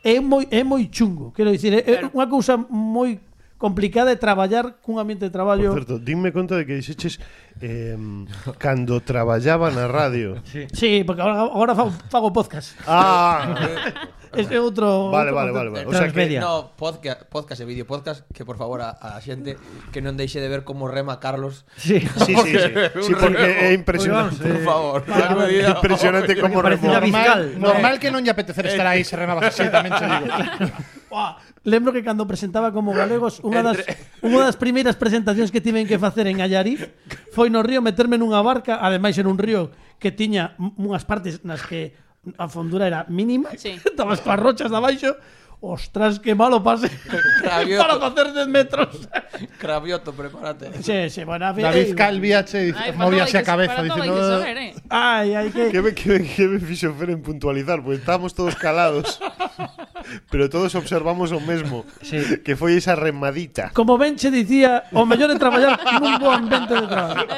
Speaker 2: É moi é moi chungo, quero dicir, é, é
Speaker 7: Claro.
Speaker 2: unha cousa moi complicada de traballar cun ambiente de traballo.
Speaker 5: Por certo, dime conta de que dixeches eh, cando traballaba na radio.
Speaker 2: Sí, porque agora, agora fago, fago podcast.
Speaker 5: Ah,
Speaker 2: Ese é outro
Speaker 5: vale,
Speaker 2: outro concepto.
Speaker 5: vale, vale,
Speaker 6: Eh,
Speaker 5: vale. O sea que
Speaker 3: Transmedia.
Speaker 6: No, podcast, podcast e vídeo podcast Que por favor a, a xente Que non deixe de ver como rema Carlos
Speaker 3: Sí.
Speaker 5: Sí, sí, sí. Sí, porque é impresionante.
Speaker 6: Por favor Por
Speaker 5: Impresionante como
Speaker 3: Parece
Speaker 5: remou.
Speaker 3: unha fiscal.
Speaker 4: Normal, normal que non lle apetecer
Speaker 2: Eh,
Speaker 4: estar aí se remabas así, tamén
Speaker 2: [LAUGHS]
Speaker 4: che digo.
Speaker 2: Buah, lembro que cando presentaba como galegos unha das, unha das primeiras presentacións que tiven que facer en Allariz foi no río meterme nunha barca ademais era un río que tiña m- unhas partes nas que a fondura era mínima [LAUGHS]
Speaker 7: Sí.
Speaker 2: estabas coas rochas de abaixo ostras que malo pase [LAUGHS]
Speaker 6: Rabioso.
Speaker 2: para facer 10 metros
Speaker 6: Cravioto, prepárate
Speaker 2: sí, sí, bueno, a ver,
Speaker 4: David Calvia che
Speaker 7: Ai,
Speaker 4: dice,
Speaker 7: para todo hai
Speaker 4: movíase a
Speaker 7: que-
Speaker 4: cabeza
Speaker 7: para todo hai
Speaker 4: dicindo...
Speaker 7: que saber, eh.
Speaker 2: ai, ai, que...
Speaker 5: Que me, que, me, que me fixo Fer en puntualizar, porque estábamos todos calados. pero todos observamos o mesmo,
Speaker 3: Sí.
Speaker 5: que foi esa remadita.
Speaker 2: Como ben che dicía, o mellor é traballar nun bo ambiente de traballo.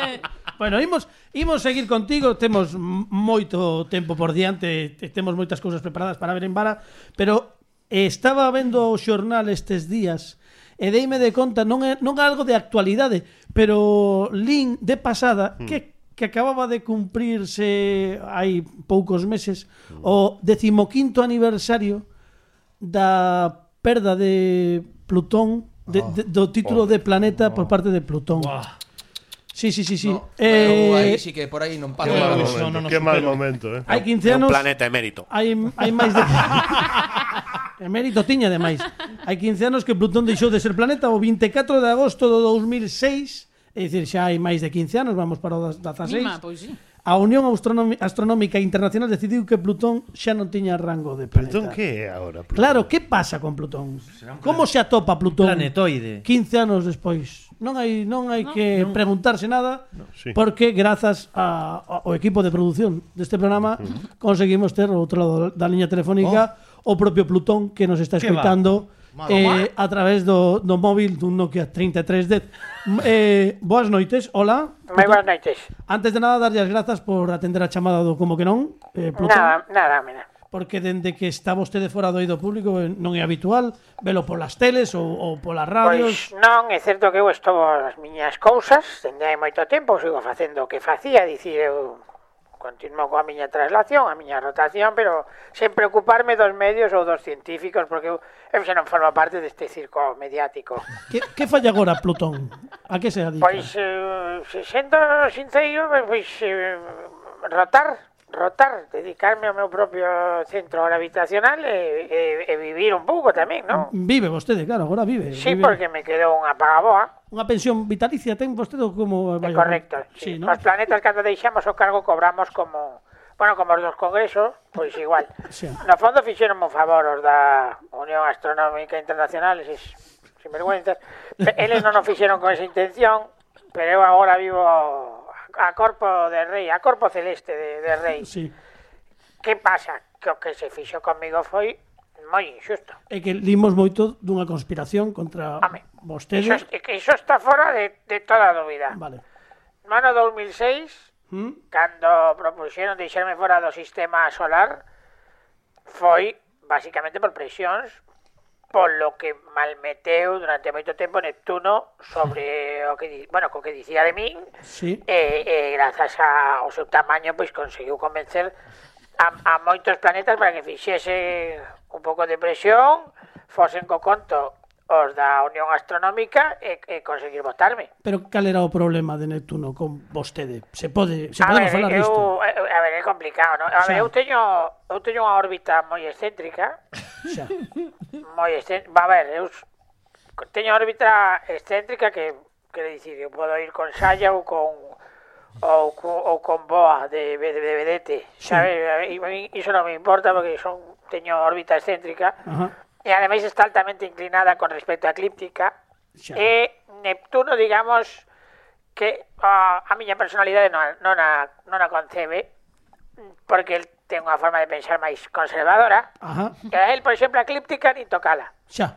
Speaker 2: Bueno, imos, imos seguir contigo, temos m- moito tempo por diante, e temos moitas cousas preparadas para ver en vara, pero eh, estaba vendo o xornal estes días e deime de conta, non é, non é algo de actualidade, pero lin de pasada que que acababa de cumprirse hai poucos meses o 15º aniversario da perda de Plutón de, de, do título de planeta por parte de Plutón. Sí, sí, sí, sí.
Speaker 6: No, pero
Speaker 2: eh,
Speaker 6: aí sí que por aí non
Speaker 5: Qué
Speaker 6: pasa
Speaker 5: mal
Speaker 6: nada.
Speaker 5: momento, qué mal momento eh.
Speaker 2: hai 15
Speaker 8: É un
Speaker 2: anos
Speaker 8: planeta emérito.
Speaker 2: hai hai máis de [LAUGHS] Emérito tiña de máis. Hai 15 anos que Plutón deixou de ser planeta o 24 de agosto do 2006, é dicir, xa hai máis de 15 anos, vamos para o das- 16.
Speaker 7: Mima, pois pues sí.
Speaker 2: A Unión Astronomi- Astronómica Internacional decidiu que Plutón xa non tiña rango de planeta.
Speaker 5: Plutón, que é agora? Plutón?
Speaker 2: Claro, que pasa con Plutón? Como se atopa Plutón?
Speaker 3: Planetoide.
Speaker 2: 15 anos despois. Non hai non hai que preguntarse nada
Speaker 5: Sí.
Speaker 2: porque grazas a, a- ao equipo de produción deste programa conseguimos ter ao outro lado da liña telefónica o propio Plutón que nos está
Speaker 3: Oh. Que va.
Speaker 2: escoitando eh, a través do, do móvil dun Nokia 3310. M- eh, boas noites, hola.
Speaker 9: Moi boas noites.
Speaker 2: Antes de nada, darlle as grazas por atender a chamada do como que non, eh, Plutón
Speaker 9: Nada, nada, mira.
Speaker 2: porque dende que está vostede fora do eido público eh, non é habitual velo polas teles ou, ou polas
Speaker 9: Pois
Speaker 2: radios.
Speaker 9: non, é certo que eu estou as miñas cousas, dende hai moito tempo, sigo facendo o que facía, dicir eu Continuo coa miña traslación, a miña rotación, pero sen preocuparme dos medios ou dos científicos, porque eu, eu xa non formo parte deste circo mediático.
Speaker 2: Que, que falla agora, Plutón? A que se adica?
Speaker 9: Pois, eh, se sendo sinceiro, eh, pois, eh, rotar, rotar, dedicarme ao meu propio centro gravitacional e, e, e vivir un pouco tamén, non?
Speaker 2: Vive vostede, claro, agora vive.
Speaker 9: Sí,
Speaker 2: vive.
Speaker 9: porque me quedou unha pagaboa.
Speaker 2: Unha pensión vitalicia ten vostede ou como...
Speaker 9: É correcto.
Speaker 2: Sí,
Speaker 9: Sí,
Speaker 2: ¿no?
Speaker 9: Os planetas cando deixamos o cargo cobramos como Bueno, como os dos congresos, pois igual.
Speaker 2: Sí.
Speaker 9: No fondo fixeron un favor os da Unión Astronómica Internacional, eses sinvergüenzas. Pe- Eles non o fixeron con esa intención, pero eu agora vivo a corpo de rei, a corpo celeste de, de rei.
Speaker 2: Sí.
Speaker 9: Que pasa? Que o que se fixo comigo foi moi injusto.
Speaker 2: É que limos moito dunha conspiración contra
Speaker 9: Home, Iso,
Speaker 2: vostede.
Speaker 9: es- que iso está fora de, de toda dúbida.
Speaker 2: Vale.
Speaker 9: No ano 2006,
Speaker 2: ¿Mm?
Speaker 9: cando propuxeron deixarme fora do sistema solar foi basicamente por presións polo que malmeteu durante moito tempo Neptuno sobre o que, di- bueno, co que dicía de min
Speaker 2: Sí.
Speaker 9: e, e grazas a, ao seu tamaño pois conseguiu convencer a, a moitos planetas para que fixese un pouco de presión fosen co conto os da Unión Astronómica e, e conseguir votarme.
Speaker 2: Pero cal era o problema de Neptuno con vostede? Se pode, se
Speaker 9: A
Speaker 2: podemos
Speaker 9: ver,
Speaker 2: falar
Speaker 9: eu,
Speaker 2: disto.
Speaker 9: eu- eh, a ver, é complicado, non?
Speaker 2: Xa.
Speaker 9: A ver, eu teño, eu teño unha órbita moi excéntrica,
Speaker 2: Xa.
Speaker 9: moi excéntrica, a ver, eu s- teño órbita excéntrica que, quere dicir, eu podo ir con Saya ou con ou, co- ou con boa de, de, de vedete, sabes? A ver, a mí Iso non me importa porque son teño órbita excéntrica
Speaker 2: Ajá.
Speaker 9: e ademais está altamente inclinada con respecto á eclíptica
Speaker 2: Xa.
Speaker 9: e Eh, Neptuno, digamos, que ah, a, a miña personalidade non, a- non, a, non a concebe porque el ten unha forma de pensar máis conservadora
Speaker 2: Ajá.
Speaker 9: e a él, por exemplo, a eclíptica ni tocala.
Speaker 2: Xa.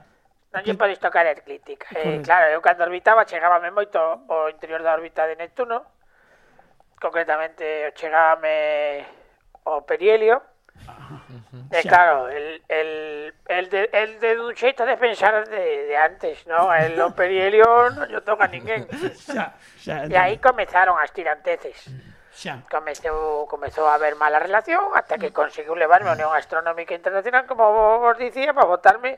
Speaker 9: Non lle podes tocar a eclíptica. Eh,
Speaker 2: Correcto.
Speaker 9: claro, eu cando orbitaba chegábame moito ao interior da órbita de Neptuno, concretamente chegábame ao perihelio, E
Speaker 2: Xa.
Speaker 9: claro, el, el, el, de, el de un xeito de pensar de, de antes, ¿no? El o perihelio non lle toca a ninguén.
Speaker 2: Xa. Xa.
Speaker 9: E aí comezaron as tiranteces.
Speaker 2: Xa.
Speaker 9: Comezou, comezou a haber mala relación hasta
Speaker 2: Mm.
Speaker 9: que conseguiu levarme a Unión Astronómica Internacional, como vo- vos dicía, para votarme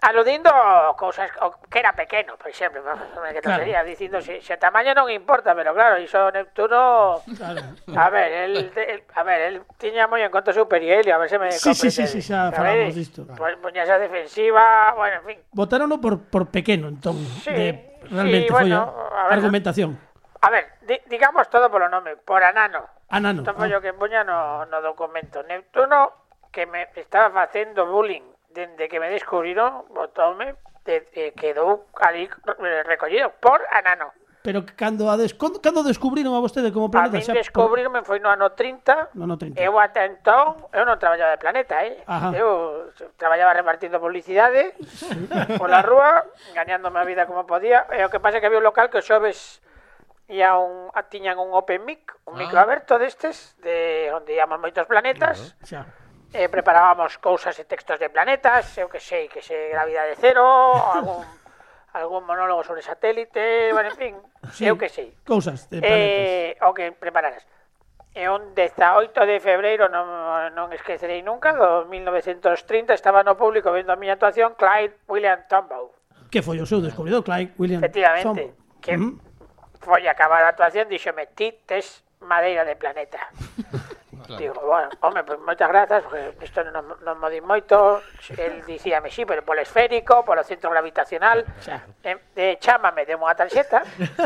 Speaker 9: aludindo a cousas o que era pequeno, por exemplo, que
Speaker 2: Claro.
Speaker 9: claro. sería dicindo se, se tamaño non importa, pero claro, iso
Speaker 2: [LAUGHS]
Speaker 9: Neptuno
Speaker 2: Claro.
Speaker 9: A ver, el, el a ver, el tiña moi en conta super e a ver se me
Speaker 2: Sí, sí, sí,
Speaker 9: comprendedes,
Speaker 2: sí, xa
Speaker 9: sabedes?
Speaker 2: falamos disto.
Speaker 9: Pois poñase a pues, defensiva, bueno, en fin.
Speaker 2: Votarono por por pequeno, entón,
Speaker 9: Sí,
Speaker 2: de
Speaker 9: sí,
Speaker 2: realmente foi
Speaker 9: bueno,
Speaker 2: a
Speaker 9: a ver.
Speaker 2: argumentación.
Speaker 9: A ver, di- digamos todo polo nome, por anano.
Speaker 2: Anano.
Speaker 9: Isto foi o que poña no, no documento. Neptuno, que me estaba facendo bullying dende que me descubriron, botoume, de, de, quedou ali eh, recollido por anano.
Speaker 2: Pero cando a des... cando, cando descubriron a vostede como
Speaker 9: A
Speaker 2: planeta,
Speaker 9: min descubrirme foi no ano 30,
Speaker 2: No, no, 30.
Speaker 9: Eu ata entón, eu non traballaba de planeta, eh?
Speaker 2: Ajá.
Speaker 9: Eu traballaba repartindo publicidade pola rúa, gañándome a vida como podía. E o que pasa é que había un local que os xoves ia un, a- tiñan un open mic, un micro aberto destes, de onde íamos moitos planetas,
Speaker 2: Xa.
Speaker 9: e preparábamos cousas e textos de planetas, eu que sei, que sei, gravidade
Speaker 2: [LAUGHS]
Speaker 9: cero, algún, algún monólogo sobre satélite, bueno, en fin,
Speaker 2: Sí.
Speaker 9: eu que sei.
Speaker 2: Cousas de planetas.
Speaker 9: Eh, o que prepararas. E un 18 de febreiro, non, non esquecerei nunca, do 1930, estaba no público vendo a miña actuación Clyde William Tombaugh.
Speaker 2: Que foi o seu descubridor, Clyde William
Speaker 9: Efectivamente,
Speaker 2: Thomson.
Speaker 9: que-
Speaker 2: Mm.
Speaker 9: Foi a acabar a actuación, dixome, ti tes madeira de planeta. Digo, bueno, home, pois moitas grazas, porque isto non, non mo di moito. El dicíame, sí, pero polo esférico, polo centro gravitacional. E, e chámame de unha tarxeta,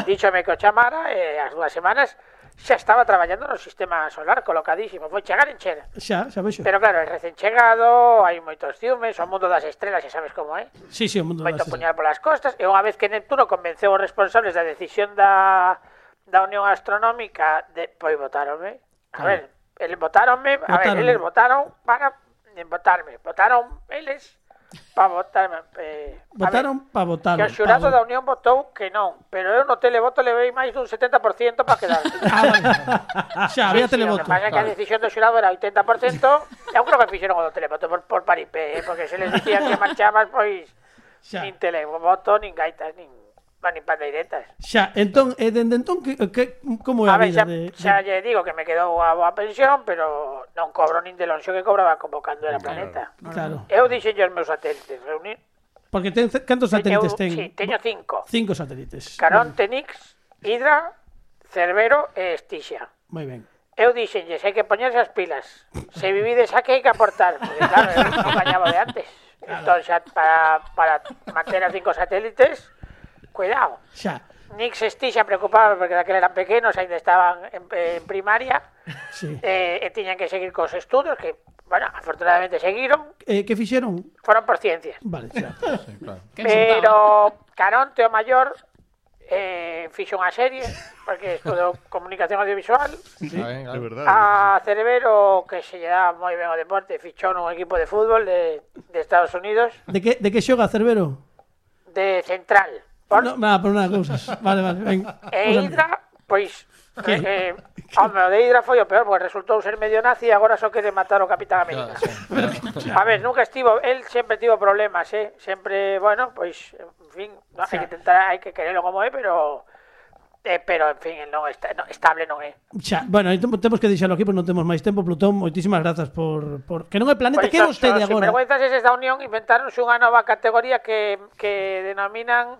Speaker 9: díxome que o chamara, e as dúas semanas xa estaba traballando no sistema solar, colocadísimo, foi chegar en chera.
Speaker 2: Xa, xa vexo.
Speaker 9: Pero claro, é recén chegado, hai moitos ciumes, o mundo das estrelas, xa sabes como é
Speaker 2: Sí, sí, o mundo
Speaker 9: moito
Speaker 2: das...
Speaker 9: puñal polas costas e unha vez que Neptuno convenceu os responsables da decisión da, da Unión Astronómica de, pois votaronme a ver, eles votaronme a ver,
Speaker 2: Votáronme.
Speaker 9: eles votaron para eh, votarme, votaron eles para votarme eh, a
Speaker 2: Votaron pa votar.
Speaker 9: ver, que o xurado da Unión votou que non pero eu no televoto levei máis dun 70% para quedar
Speaker 2: [LAUGHS] Ah,
Speaker 9: [LAUGHS]
Speaker 2: vale. Xa, había
Speaker 9: O
Speaker 2: televoto.
Speaker 9: que pasa é que a decisión do xurado era 80%, eu creo que fixeron o do televoto por, por paripé, eh, porque se les dicía que marchabas, pois
Speaker 2: Xa.
Speaker 9: Nin televoto, nin gaitas, nin... van nin pata directas.
Speaker 2: Xa, entón, e dende entón, que, que, como é a,
Speaker 9: A ver,
Speaker 2: vida
Speaker 9: xa,
Speaker 2: de,
Speaker 9: xa
Speaker 2: de...
Speaker 9: lle digo que me quedou a boa pensión, pero non cobro nin de lonxo que cobraba convocando era planeta.
Speaker 2: Claro,
Speaker 9: Eu dixenlle aos meus satélites, reunir...
Speaker 2: porque ten, cantos
Speaker 9: Teño,
Speaker 2: satélites ten?
Speaker 9: sí, teño cinco.
Speaker 2: Cinco satélites.
Speaker 9: Caronte, Nix, Hidra, Cerbero eh, e Estixa.
Speaker 2: Moi ben.
Speaker 9: Eu dixenlles, hai que poñerse as pilas. Se vivides aquí hai que aportar. Porque, claro,
Speaker 2: [LAUGHS]
Speaker 9: eu non gañaba de antes. Entón, xa, para, para manter as cinco satélites, cuidado.
Speaker 2: Xa,
Speaker 9: Nix e Estixa preocupaba porque daquela eran pequenos, ainda estaban en, en primaria,
Speaker 2: sí.
Speaker 9: eh, e tiñan que seguir cos estudos, que, bueno, afortunadamente seguiron,
Speaker 2: Eh, que fixeron?
Speaker 9: foron por ciencias.
Speaker 2: Vale, xa.
Speaker 7: Quen soltaba?
Speaker 9: Pero Caronte o maior eh, fixo unha serie porque estudou comunicación audiovisual
Speaker 6: Ah, ben,
Speaker 5: De
Speaker 6: claro.
Speaker 5: verdade.
Speaker 9: a Cerbero que se lle daba moi ben o deporte fichou nun equipo de fútbol de, de Estados Unidos
Speaker 2: De que, de que xoga Cerbero?
Speaker 9: de central por,
Speaker 2: No, nada, por nada, cousas. Vale, vale, ben.
Speaker 9: e Hidra
Speaker 2: [LAUGHS]
Speaker 9: pois eh, eh, home, o de Hidra foi o peor porque resultou ser medio nazi e agora só quere matar o Capitán América A ver, nunca estivo, él sempre tivo problemas, eh? Sempre, bueno, pois, en fin, no, hai que tentar, hai que querelo como é, pero eh, pero en fin, el non está, no, estable non é.
Speaker 2: Xa, bueno, aí temos temos que deixalo aquí, porque non temos máis tempo, Plutón. Moitísimas grazas por, por... Que non é planeta, que é
Speaker 9: os-
Speaker 2: vostede
Speaker 9: os
Speaker 2: agora?
Speaker 9: Pois sinvergüenzas eses da Unión inventaronse unha nova categoría que, que denominan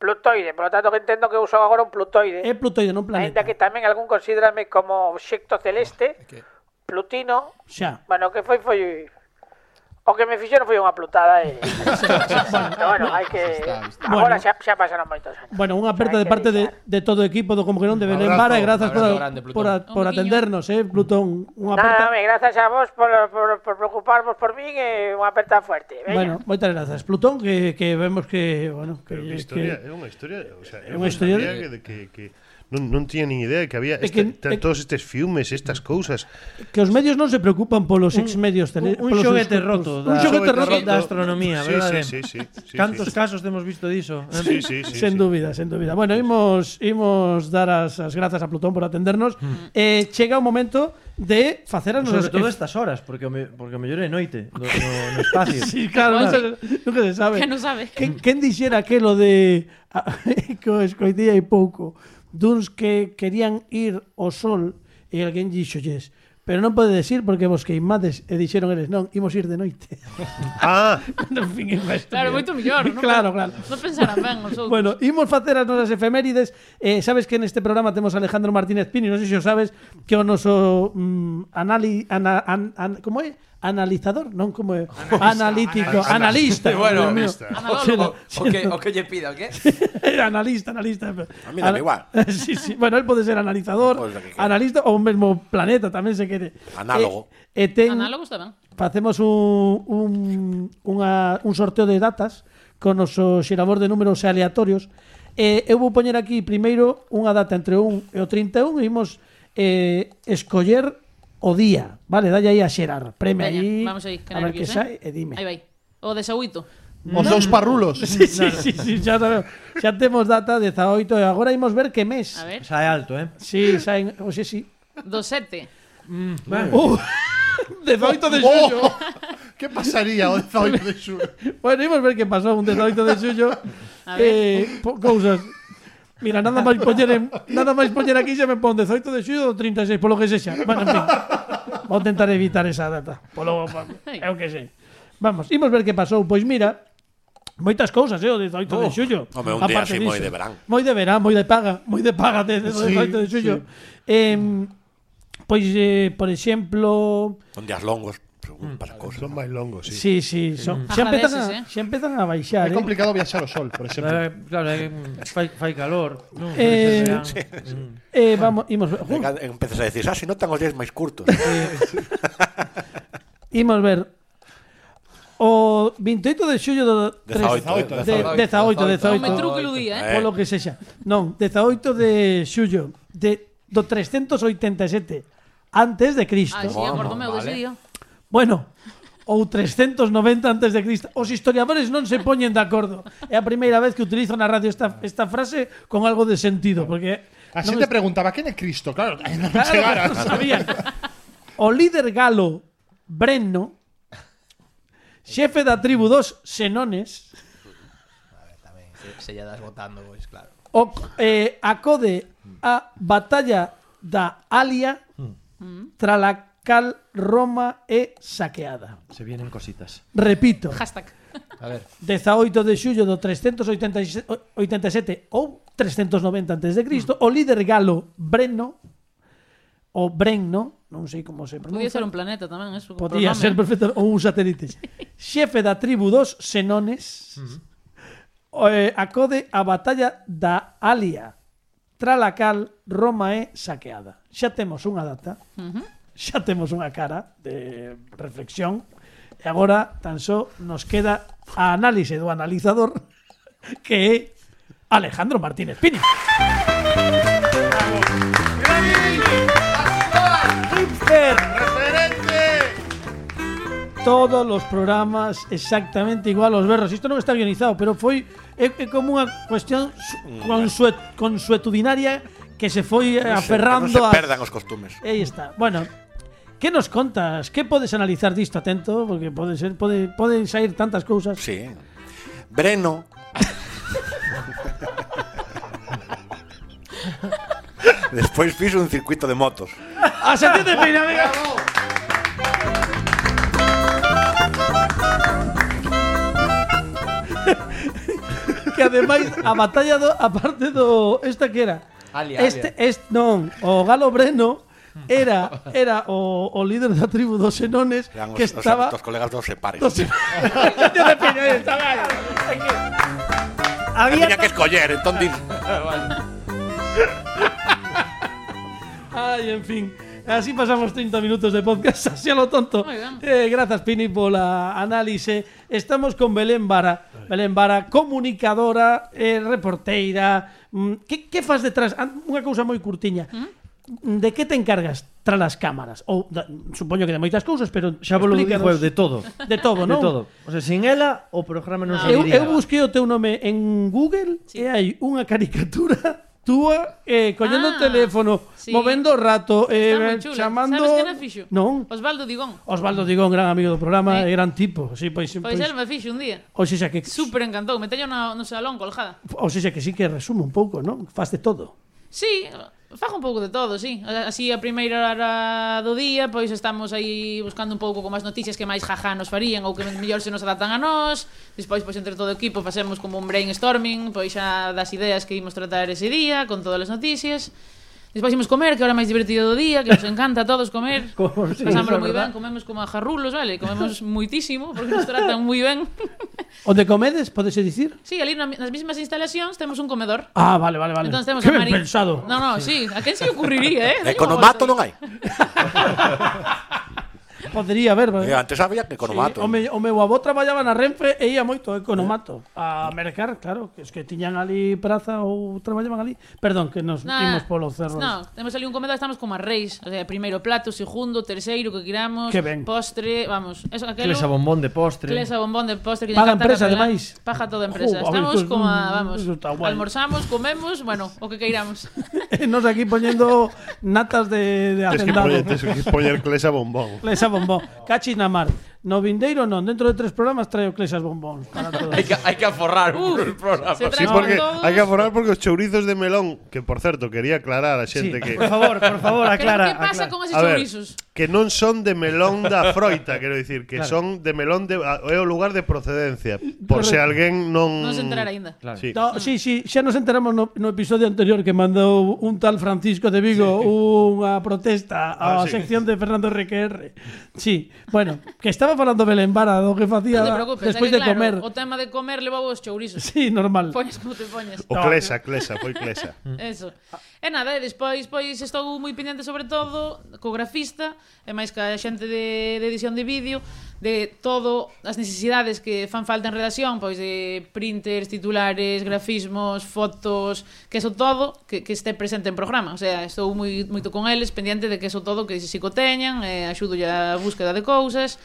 Speaker 9: plutoide, por lo tanto que entendo que uso agora un plutoide.
Speaker 2: É Plutoide, non planeta.
Speaker 9: Ainda que tamén algún considerame como obxecto celeste, plutino,
Speaker 2: Xa.
Speaker 9: Bueno, o que foi foi o que me fixeron foi unha
Speaker 2: [LAUGHS]
Speaker 9: plutada e Pero bueno, hai que agora xa, xa pasaron moitos anos.
Speaker 2: Bueno, unha aperta de
Speaker 9: Hai que
Speaker 2: parte de,
Speaker 9: deixar.
Speaker 2: de todo o equipo do Como que non de Belén
Speaker 5: abrazo,
Speaker 2: Vara e grazas por,
Speaker 6: abrazo
Speaker 2: a-
Speaker 6: grande, Plutón.
Speaker 2: por, a- por
Speaker 7: Un bequiño.
Speaker 2: atendernos, eh, Plutón. Unha aperta...
Speaker 9: Nada, me grazas a vos por, por, por preocuparvos por min e unha aperta fuerte. Veña.
Speaker 2: Bueno, moitas grazas. Plutón, que, que vemos que, bueno, que,
Speaker 5: Pero que
Speaker 2: que-
Speaker 5: historia, é unha historia, o sea, é
Speaker 2: unha
Speaker 5: unha
Speaker 2: historia
Speaker 5: historia
Speaker 2: de-
Speaker 5: que, que, que non, non tiña nin idea que había
Speaker 2: É
Speaker 5: este,
Speaker 2: que- é-
Speaker 5: que, todos estes filmes, estas cousas.
Speaker 2: que os medios non se preocupan polos ex medios
Speaker 3: Un, un xoguete roto
Speaker 2: Un
Speaker 3: da,
Speaker 2: xoguete roto
Speaker 3: da astronomía,
Speaker 5: sí,
Speaker 3: verdade?
Speaker 5: Sí, sí, sí, sí,
Speaker 3: Cantos
Speaker 5: sí.
Speaker 3: casos temos visto diso? eh?
Speaker 5: Sí, sí, sí.
Speaker 2: sen
Speaker 5: sí.
Speaker 2: dúbida, sen dúbida. Bueno, imos, imos dar as, as grazas a Plutón por atendernos.
Speaker 5: Hmm.
Speaker 2: Eh, chega o momento de facer as
Speaker 3: Sobre
Speaker 2: nosas...
Speaker 3: todo estas horas, porque o me, porque o mellor é noite no, no, no espacio.
Speaker 2: Sí, claro,
Speaker 7: Oye.
Speaker 2: nunca, se- nunca se sabe.
Speaker 7: Que non sabe.
Speaker 2: Quen, quen dixera aquelo de [LAUGHS] que o escoitía hai pouco duns que querían ir ao sol e alguén dixolles pero non podedes ir porque vos queimades e dixeron eles non, imos ir de noite [LAUGHS]
Speaker 5: Ah,
Speaker 2: en fin, é unha
Speaker 7: Claro,
Speaker 2: [LAUGHS] estupidez.
Speaker 7: moito mellor, non?
Speaker 2: claro, claro
Speaker 7: Non pensarán ben os
Speaker 2: [LAUGHS]
Speaker 7: outros.
Speaker 2: Bueno, imos facer as nosas efemérides eh, Sabes que neste programa temos a Alejandro Martínez Pini Non sei se o sabes Que o noso mm, anali, ana, an, an, Como é? Analizador? Non como é? Analítico Analista
Speaker 6: Sí, bueno,
Speaker 2: Dios mío.
Speaker 5: analista.
Speaker 7: Ah, Anadolo.
Speaker 6: O, o, que, o que lle pida, o que?
Speaker 2: [LAUGHS] analista, analista. A
Speaker 8: mí dame igual.
Speaker 2: [LAUGHS] sí, sí. Bueno, él pode ser analizador,
Speaker 8: Pois lo que queira.
Speaker 2: analista ou mesmo planeta, tamén se quere.
Speaker 8: Análogo.
Speaker 2: E, e ten,
Speaker 7: Análogo está ben.
Speaker 2: facemos un, un, unha, un sorteo de datas con oso xerador de números e aleatorios. E eu vou poñer aquí primeiro unha data entre o 1 e o 31 e imos eh, escoller o día, vale? Dalle aí a xerar. Preme
Speaker 7: Veña,
Speaker 2: aí.
Speaker 7: vamos aí, que
Speaker 2: a ver que
Speaker 7: nervios,
Speaker 2: sai e
Speaker 7: eh?
Speaker 2: dime.
Speaker 7: Aí vai. O de Saúito.
Speaker 4: Os dous parrulos.
Speaker 2: Sí, [LAUGHS] sí, sí, sí, xa sabemos. Xa temos data 18 e agora imos ver que mes.
Speaker 7: A ver.
Speaker 3: Xa é alto, eh?
Speaker 2: Sí, saen, o xe sí.
Speaker 7: Do 7.
Speaker 2: Uh, 18 de xullo.
Speaker 5: oh, que pasaría o 18 de xullo?
Speaker 2: Bueno, imos ver que pasou un 18 de xullo.
Speaker 7: [LAUGHS] A ver.
Speaker 2: Eh, po- cousas. Mira, nada máis poñer en, nada máis poñer aquí xa me pon 18 de xullo ou 36, polo que sexa. Bueno, en fin. Vou tentar evitar esa data. Polo é o que sei. Vamos, imos ver que pasou. Pois mira, moitas cousas, eh, o 18 de xullo.
Speaker 8: home, un día así
Speaker 2: Aparte diso.
Speaker 8: moi de verán.
Speaker 2: Moi de verán, moi de paga, moi de paga de, de,
Speaker 5: Sí,
Speaker 2: 18 de xullo. Em, pois, eh, por exemplo,
Speaker 8: Son días longos, según para cosas.
Speaker 5: Son máis longos,
Speaker 2: Sí,
Speaker 5: sí.
Speaker 2: sí, son, xa,
Speaker 7: Ajá,
Speaker 2: empezan a,
Speaker 7: deses, eh.
Speaker 2: xa empezan a baixar,
Speaker 4: É
Speaker 2: eh?
Speaker 4: complicado viaxar ao sol, por exemplo.
Speaker 3: Eh, Claro, é, mm, fai, fai calor. Non,
Speaker 2: Eh,
Speaker 3: Xa
Speaker 2: sí,
Speaker 3: serán- Mm.
Speaker 2: eh vamos, imos, ver- Ju,
Speaker 8: Empezas a decir, ah, si notan os días máis curtos.
Speaker 2: imos ver o 28 de xullo do
Speaker 8: 18,
Speaker 2: 18,
Speaker 7: 18. Me
Speaker 2: 18,
Speaker 7: truque o día, eh?
Speaker 2: polo que sexa. Non, 18 de xullo de do 387 antes de Cristo.
Speaker 7: Ah, si, acordo meu dese día.
Speaker 2: Bueno, ou 390 antes de Cristo. Os historiadores non se poñen de acordo. É a primeira vez que utilizo na radio esta, esta frase con algo de sentido, porque
Speaker 4: A
Speaker 2: non
Speaker 4: xente preguntaba, quen é Cristo? Claro, non
Speaker 2: Claro,
Speaker 4: chegara.
Speaker 2: non sabían. O líder galo Brenno, xefe da tribu dos Xenones,
Speaker 6: Se, se lla das votando, pois, claro.
Speaker 2: O, eh, acode a batalla da Alia
Speaker 7: Mm.
Speaker 2: tras la cal Roma é saqueada.
Speaker 3: Se vienen cositas.
Speaker 2: Repito,
Speaker 7: Hashtag.
Speaker 6: A ver,
Speaker 2: 18 de xullo do 387 ou 390 antes de
Speaker 7: Mm.
Speaker 2: Cristo, o líder galo Breno o Brenno, non sei como se
Speaker 7: Podía
Speaker 2: pronuncia,
Speaker 7: ser un eh. planeta tamén, eso. por
Speaker 2: podía
Speaker 7: nome.
Speaker 2: ser perfecto ou un satélite. Xefe da tribu dos Xenones, eh, acode a batalla da Alia, tra la cal Roma é saqueada. Xa temos unha data, xa temos unha cara de reflexión, e agora tan só nos queda a análise do analizador, [LAUGHS] que é Alejandro Martínez Pini. Hipster. todos los programas exactamente igual los berros. Isto non está guionizado, pero foi é, é como unha cuestión su- consue- consuetudinaria que se foi eh,
Speaker 8: Ferrando se, Mm, eh. que
Speaker 2: aferrando
Speaker 8: non
Speaker 2: a...
Speaker 8: se perdan os costumes.
Speaker 2: Aí está. Bueno, que nos contas? Que podes analizar disto atento? Porque pode ser pode, poden sair tantas cousas.
Speaker 8: Sí. Breno. Despois fixo un circuito de motos.
Speaker 2: A sentir de pena, venga. [LAUGHS] que ademais a batalla do a parte do esta que era.
Speaker 6: Alia,
Speaker 2: este este non, o Galo Breno era era o, o líder da tribu dos Xenones
Speaker 8: Eran os,
Speaker 2: que estaba
Speaker 8: os, os colegas dos separes.
Speaker 2: dos Xenones. Sentir de pena, eh, chaval. É que Había
Speaker 8: Tiña que escoller, entón din,
Speaker 2: [LAUGHS] Ay, en fin. Así pasamos 30 minutos de podcast, [LAUGHS] así a lo tonto.
Speaker 7: Muy bien.
Speaker 2: Eh, gracias, Pini, por la análisis. Estamos con Belén Vara. Belén Vara, comunicadora, eh, reporteira. Mm, Que, que fas detrás? Ah, Unha cousa moi curtiña.
Speaker 7: Mm.
Speaker 2: De que te encargas tras as cámaras? Ou, da, supoño que de moitas cousas, pero
Speaker 3: Xa vos lo dixo eu,
Speaker 2: explícanos.
Speaker 3: de todo.
Speaker 2: de todo,
Speaker 3: [LAUGHS] De
Speaker 2: non? Ah.
Speaker 3: todo. O sea, sin ela o programa non se
Speaker 2: Eu,
Speaker 3: diría.
Speaker 2: eu busquei o teu nome en Google
Speaker 7: Ah, Sí.
Speaker 2: e hai unha caricatura [LAUGHS] túa eh, collendo o
Speaker 7: Ah,
Speaker 2: teléfono,
Speaker 7: sí.
Speaker 2: movendo o rato,
Speaker 7: Está
Speaker 2: eh,
Speaker 7: moi chula.
Speaker 2: chamando...
Speaker 7: Sabes quen a fixo?
Speaker 2: Non,
Speaker 7: Osvaldo Digón.
Speaker 2: Osvaldo Digón, gran amigo do programa,
Speaker 7: Sí.
Speaker 2: e gran tipo. Sí, pois, pois,
Speaker 7: Pois el me fixo un día.
Speaker 2: Oxe xa que
Speaker 7: Super encantou, me teño no, no salón colgada.
Speaker 2: Oxe xa que sí que resume un pouco, non? Faz de todo.
Speaker 7: Sí, fago un pouco de todo, sí. Así a primeira hora do día, pois estamos aí buscando un pouco como as noticias que máis jajá nos farían ou que mellor se nos adaptan a nós. Despois, pois entre todo o equipo facemos como un brainstorming, pois xa das ideas que imos tratar ese día, con todas as noticias. Despois imos comer, que é a hora máis divertido do día, que nos encanta a todos comer.
Speaker 3: [LAUGHS] Como- sí, eso é
Speaker 7: Pasámoslo moi
Speaker 3: verdad.
Speaker 7: ben, comemos como a jarrulos, vale? Comemos moitísimo, porque nos tratan moi ben. [LAUGHS]
Speaker 2: Onde comedes, podese dicir?
Speaker 7: Sí, ali na- nas mismas instalacións temos un comedor.
Speaker 2: Ah, vale, vale, vale.
Speaker 7: Entón temos
Speaker 2: que
Speaker 7: a
Speaker 2: ben
Speaker 7: Mari-
Speaker 2: pensado.
Speaker 7: No, no, sí, a quen se lle ocurriría, eh?
Speaker 8: economato non hai.
Speaker 2: Podría haber,
Speaker 8: Eh,
Speaker 2: vale.
Speaker 8: Antes había que economato.
Speaker 2: o, me, o meu avó traballaba na Renfe e ia moito a Economato a mercar, claro, que es que tiñan ali praza ou traballaban ali. Perdón, que nos
Speaker 7: No,
Speaker 2: imos polos cerros.
Speaker 7: No, temos ali un comedor, estamos como a reis, o sea, primeiro plato, segundo, terceiro que quiramos,
Speaker 2: Que ben.
Speaker 7: postre, vamos, eso aquelo.
Speaker 3: Clesa bombón de postre.
Speaker 7: Clesa bombón de postre que lle
Speaker 2: Paga
Speaker 7: encanta
Speaker 2: empresa,
Speaker 7: Catalán.
Speaker 2: ademais.
Speaker 7: Paga toda a empresa.
Speaker 2: Jo, a ver,
Speaker 7: Estamos
Speaker 2: pues,
Speaker 7: como a,
Speaker 2: mm,
Speaker 7: vamos,
Speaker 2: eso está guai.
Speaker 7: almorzamos, comemos, bueno, o
Speaker 2: [LAUGHS]
Speaker 7: que queiramos.
Speaker 2: E [LAUGHS] nos aquí poñendo natas de, de
Speaker 5: Tens que
Speaker 2: hacendado.
Speaker 5: poñer, tens que poñer clesa bombón.
Speaker 2: [LAUGHS] Clesa bombón. Cachis na mar. No vindeiro non, dentro de tres programas traio clesas bombóns para todos.
Speaker 6: hai que, hai que aforrar por
Speaker 7: Uf,
Speaker 6: el programa.
Speaker 5: Sí,
Speaker 7: Se traen
Speaker 5: porque
Speaker 7: todos.
Speaker 5: hai que aforar porque os chourizos de melón, que por certo, quería aclarar a xente que
Speaker 3: Por favor, por
Speaker 2: [LAUGHS]
Speaker 3: favor,
Speaker 7: Pero,
Speaker 3: aclara.
Speaker 7: que
Speaker 3: aclara.
Speaker 7: pasa con eses
Speaker 5: A ver.
Speaker 7: chourizos?
Speaker 5: que non son de melón da froita, quero dicir, que son de melón de a- é o lugar de procedencia, por se alguén non
Speaker 7: Non se enterar aínda.
Speaker 3: Claro.
Speaker 5: Sí.
Speaker 2: No, sí, sí, xa nos enteramos no, no episodio anterior que mandou un tal Francisco de Vigo unha protesta á
Speaker 5: Ah, sí.
Speaker 2: sección de Fernando RQR. Sí, bueno, que estaba falando Belén Vara do que facía
Speaker 7: Non te preocupes,
Speaker 2: despois de
Speaker 7: é que, claro,
Speaker 2: comer.
Speaker 7: o tema de comer levou os chourizos.
Speaker 2: Sí, normal.
Speaker 7: Poñes como te poñes.
Speaker 5: O clesa, clesa, foi clesa.
Speaker 7: Eso. E nada, e despois pois estou moi pendente sobre todo co grafista e máis que a xente de, de edición de vídeo de todo as necesidades que fan falta en redacción, pois de printers, titulares, grafismos, fotos, que eso todo que, que este presente en programa. O sea, estou moi moito con eles, pendiente de que eso todo que se si co teñan, eh, axudo a búsqueda de cousas,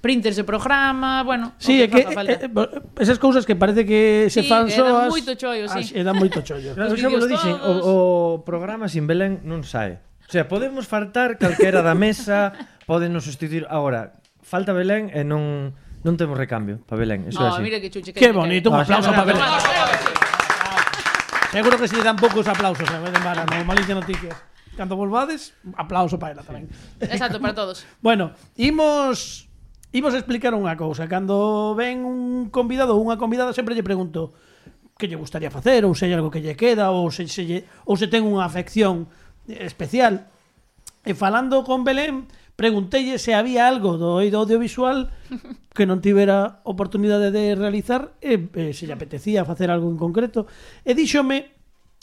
Speaker 7: printers de programa, bueno, o
Speaker 2: Sí, é que
Speaker 7: faga falta.
Speaker 2: eh, eh, bo- esas cousas que parece que se
Speaker 7: Sí,
Speaker 2: fan
Speaker 7: que
Speaker 2: soas.
Speaker 7: dan moito chollo, sí.
Speaker 2: as- e dan moito chollo.
Speaker 7: [LAUGHS]
Speaker 3: Claro,
Speaker 7: Os
Speaker 3: xa vos lo
Speaker 7: vídeos
Speaker 3: dixen, o,
Speaker 7: todos.
Speaker 3: o programa sin Belén non sae. O sea, [LAUGHS] podemos faltar calquera da mesa, poden nos sustituir. Agora, falta Belén e non Non temos recambio para Belén, eso é
Speaker 7: Oh,
Speaker 3: así.
Speaker 7: mira que chuche. que-
Speaker 2: Qué
Speaker 7: que-
Speaker 2: bonito, un
Speaker 3: Ah,
Speaker 2: aplauso
Speaker 3: sí,
Speaker 2: para
Speaker 3: claro.
Speaker 2: Belén. Seguro que se lle dan pocos aplausos a Belén Vara, no malicia noticias. Cando volvades, aplauso para ela tamén.
Speaker 7: Exacto, para todos.
Speaker 2: Bueno, imos imos explicar unha cousa. Cando ven un convidado ou unha convidada, sempre lle pregunto que lle gustaría facer ou se hai algo que lle queda ou se, se lle, ou se ten unha afección eh, especial. E falando con Belén, preguntelle se había algo do eido audiovisual que non tivera oportunidade de realizar e, e se lle apetecía facer algo en concreto. E díxome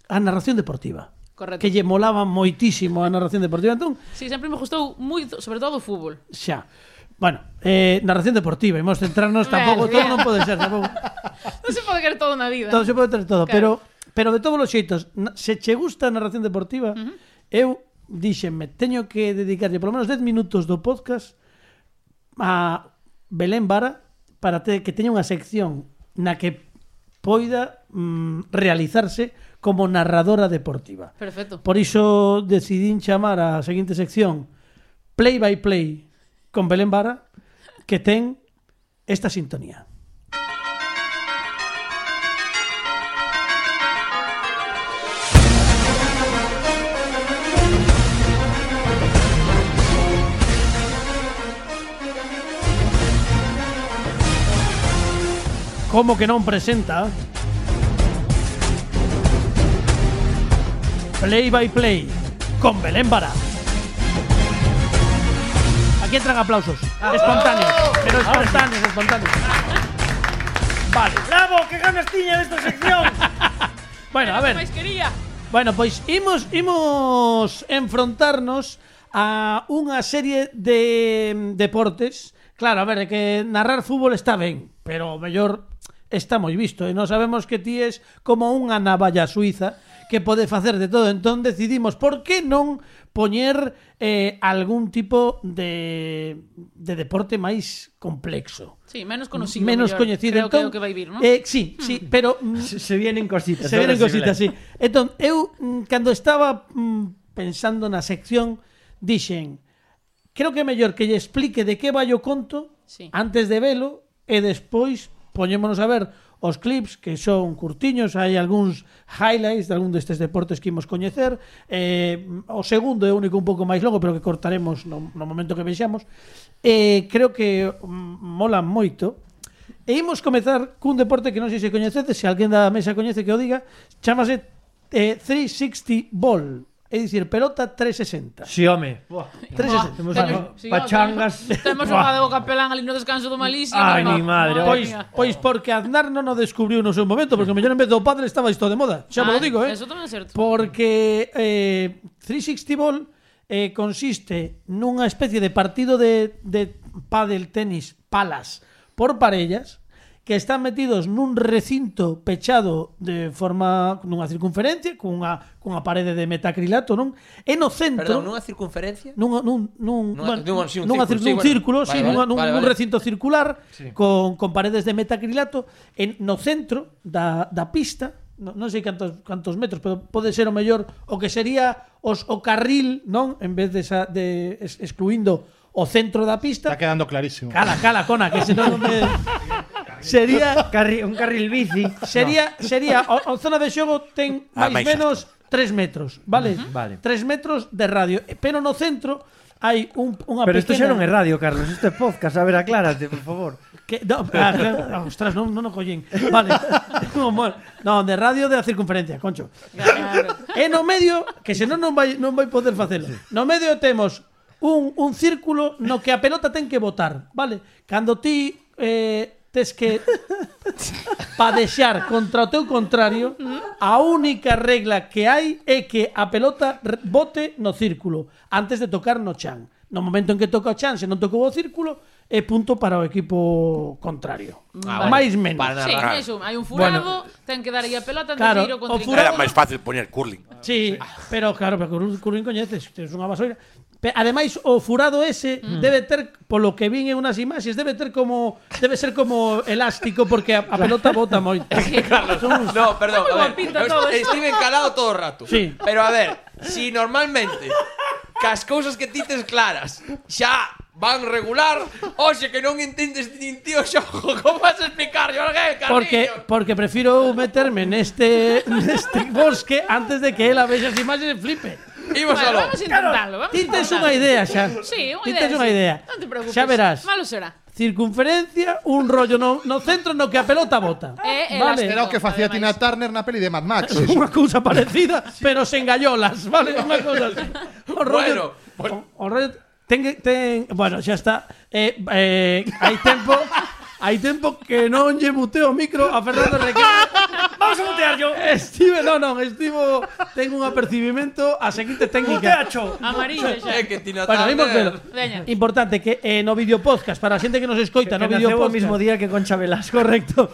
Speaker 2: a narración deportiva.
Speaker 7: Correcto.
Speaker 2: Que lle molaba moitísimo a narración deportiva. Entón,
Speaker 7: Sí, sempre me gustou moi, sobre todo o fútbol.
Speaker 2: Xa. Bueno, eh, narración deportiva, imos centrarnos tampouco,
Speaker 7: Bueno,
Speaker 2: todo
Speaker 7: bien.
Speaker 2: non pode ser,
Speaker 7: [LAUGHS]
Speaker 2: tampouco.
Speaker 7: Non se pode querer todo na vida.
Speaker 2: Todo se pode ter todo,
Speaker 7: Claro.
Speaker 2: pero pero de todos os xeitos, na- se che gusta a narración deportiva, uh -huh. eu díxenme, teño que dedicarlle polo menos 10 minutos do podcast a Belén Vara para te, que teña unha sección na que poida mm, realizarse como narradora deportiva.
Speaker 7: Perfecto.
Speaker 2: Por iso decidín chamar a seguinte sección Play by Play con Belén Vara que ten esta sintonía. Como que non presenta Play by Play con Belén Vara. Aquí entran aplausos
Speaker 3: Ah.
Speaker 2: espontáneos, pero espontáneos, espontáneos. Vale.
Speaker 3: Bravo, que ganas tiña desta sección.
Speaker 2: [LAUGHS] Bueno, a
Speaker 7: Que
Speaker 2: ver.
Speaker 7: máis quería.
Speaker 2: Bueno, pois imos imos enfrontarnos a unha serie de mm, deportes. Claro, a ver, é que narrar fútbol está ben, pero o mellor está moi visto e non sabemos que ti es como unha navalla suiza que pode facer de todo. Entón decidimos por que non poñer eh, algún tipo de, de deporte máis complexo.
Speaker 7: Sí, menos conocido.
Speaker 2: menos
Speaker 7: mellor.
Speaker 2: coñecido.
Speaker 7: Creo que é
Speaker 2: Entón,
Speaker 7: o que vai vir, non? Hmm.
Speaker 2: Eh, sí, sí, pero mm,
Speaker 3: se, se vienen cositas.
Speaker 2: Se vienen
Speaker 3: ahora
Speaker 2: cositas,
Speaker 3: Belén.
Speaker 2: sí. Entón, eu, mm, cando estaba mm, pensando na sección, dixen, creo que é mellor que lle explique de que vai o conto
Speaker 7: Sí.
Speaker 2: antes de velo e despois poñémonos a ver os clips que son curtiños, hai algúns highlights de algún destes deportes que imos coñecer. Eh, o segundo é o único un pouco máis longo, pero que cortaremos no, no momento que vexamos. Eh, creo que mm, mola moito. E imos comezar cun deporte que non sei se coñecedes, se alguén da mesa coñece que o diga, chamase eh, 360 Ball, é dicir, pelota 360.
Speaker 3: Sí, home. Buah.
Speaker 2: 360.
Speaker 3: Temos
Speaker 7: Teño-
Speaker 3: algo.
Speaker 7: sí,
Speaker 3: pachangas.
Speaker 7: Temos temos
Speaker 3: Buah.
Speaker 7: jugado o capelán ali no descanso do Malicia.
Speaker 3: Ai,
Speaker 7: mamá.
Speaker 3: mi madre,
Speaker 7: Madre
Speaker 2: Pois,
Speaker 7: mía.
Speaker 2: pois porque Aznar non o descubriu no seu momento, porque o mellor en vez do padre estaba isto de moda. Xa me lo
Speaker 7: Ai,
Speaker 2: digo, eh.
Speaker 7: Ah, Eso tamén é certo.
Speaker 2: Porque eh, 360 Ball eh, consiste nunha especie de partido de, de pádel tenis palas por parellas que están metidos nun recinto pechado de forma nunha circunferencia cunha cunha parede de metacrilato, non? E no centro
Speaker 6: Perdón, nunha circunferencia?
Speaker 2: nun nun nun
Speaker 6: Nunha-
Speaker 2: bueno,
Speaker 6: dun- sí, un
Speaker 2: nunha cir-
Speaker 6: círculo, sí,
Speaker 2: un
Speaker 6: bueno.
Speaker 2: círculo,
Speaker 6: Vale,
Speaker 2: sí,
Speaker 6: vale,
Speaker 2: nunha- nun-
Speaker 6: vale,
Speaker 2: un
Speaker 6: vale.
Speaker 2: recinto circular con con paredes de metacrilato en no centro da da pista, no, non sei cantos cantos metros, pero pode ser o mellor o que sería os o carril, non, en vez de esa de es- excluindo o centro da
Speaker 4: Está
Speaker 2: pista.
Speaker 4: quedando clarísimo.
Speaker 2: Cala, cala, cona, que se non
Speaker 3: [LAUGHS]
Speaker 2: me... sería
Speaker 3: Carri- un carril bici.
Speaker 2: [LAUGHS] sería sería o, o zona de xogo ten
Speaker 8: Ah,
Speaker 2: máis
Speaker 8: máis
Speaker 2: menos 3 metros, vale?
Speaker 3: Ujú. Vale.
Speaker 2: 3 metros de radio, Eh, pero no centro hai un unha
Speaker 3: Pero isto
Speaker 2: pequena
Speaker 3: xa non é radio, Carlos, isto é podcast, a ver, aclárate, por favor.
Speaker 2: que no, ah, claro, ah, [LAUGHS] ostras, non non o collín. Vale. [LAUGHS] Como mol. non, de radio da circunferencia, concho.
Speaker 7: Claro.
Speaker 2: E no medio, que senón non vai non vai poder facelo. No medio temos un, un círculo no que a pelota ten que botar, vale? Cando ti eh, tes que padexar contra o teu contrario, a única regla que hai é que a pelota r- bote no círculo antes de tocar no chan. No momento en que toca o chan, se non tocou o círculo, é punto para o equipo contrario.
Speaker 7: Ah, vale.
Speaker 2: Máis menos.
Speaker 6: Para
Speaker 7: Sí,
Speaker 6: narrar.
Speaker 7: eso, hai un furado, ten que dar aí a pelota antes
Speaker 2: Claro,
Speaker 7: de ir ao
Speaker 8: Era
Speaker 2: o
Speaker 7: contrincante.
Speaker 8: máis fácil poñer curling.
Speaker 2: Sí, pero claro, pero currín, currín coñeces, tes unha vasoira. Pe, ademais, o furado ese mm. debe ter, polo que vin en unas imaxes, debe ter como debe ser como elástico porque a, a pelota bota
Speaker 7: [LAUGHS]
Speaker 2: moito.
Speaker 6: [LAUGHS] No, perdón,
Speaker 7: Está muy
Speaker 6: a ver,
Speaker 7: guapito
Speaker 6: eu
Speaker 7: todo
Speaker 6: est-
Speaker 7: eso.
Speaker 6: estive encalado todo o rato.
Speaker 2: Sí.
Speaker 6: Pero a ver, si normalmente cas cousas que ti tes claras xa van regular, oxe, que non entendes nin tío xojo, [LAUGHS] como vas a explicar, Jorge, Carrillo?
Speaker 2: Porque, porque prefiro meterme neste, [LAUGHS] neste bosque antes de que ela vexa as imaxes e flipe.
Speaker 6: Imos
Speaker 7: Vale,
Speaker 6: aló.
Speaker 7: vamos a intentarlo. Vamos a
Speaker 2: Ti tes
Speaker 7: intentarlo.
Speaker 2: unha idea xa.
Speaker 7: Sí, unha
Speaker 2: Ti
Speaker 7: idea.
Speaker 2: tes unha
Speaker 7: sí.
Speaker 2: idea.
Speaker 7: Non te preocupes.
Speaker 2: Xa verás.
Speaker 7: Malo será.
Speaker 2: Circunferencia, un rollo no, no centro no que a pelota bota.
Speaker 7: É
Speaker 2: eh.
Speaker 4: Era o que facía
Speaker 7: Ademais.
Speaker 4: Tina Turner na peli de Mad
Speaker 2: [LAUGHS]
Speaker 4: Max. eso.
Speaker 2: Unha cousa parecida, pero sen gallolas, vale? Unha cousa así. O rollo,
Speaker 6: Bueno, pues-
Speaker 2: o, o rollo ten, que- ten, bueno, xa está. Eh, eh, hai tempo Hai tempo que non lle muteo o micro a Fernando Requena. Vamos a mutear yo. Estive, non, non, estivo ten un apercibimento a seguinte técnica. Muteacho.
Speaker 7: Amarillo
Speaker 6: [LAUGHS]
Speaker 7: xa.
Speaker 6: É que Tina
Speaker 2: Bueno, imos
Speaker 6: Turner-
Speaker 2: velo.
Speaker 7: Veña.
Speaker 2: Importante que eh, no video podcast, para a xente que nos escoita, no
Speaker 3: que
Speaker 2: video
Speaker 3: naceu o
Speaker 2: podcast.
Speaker 3: mismo día que Concha Velasco.
Speaker 2: [LAUGHS] Correcto.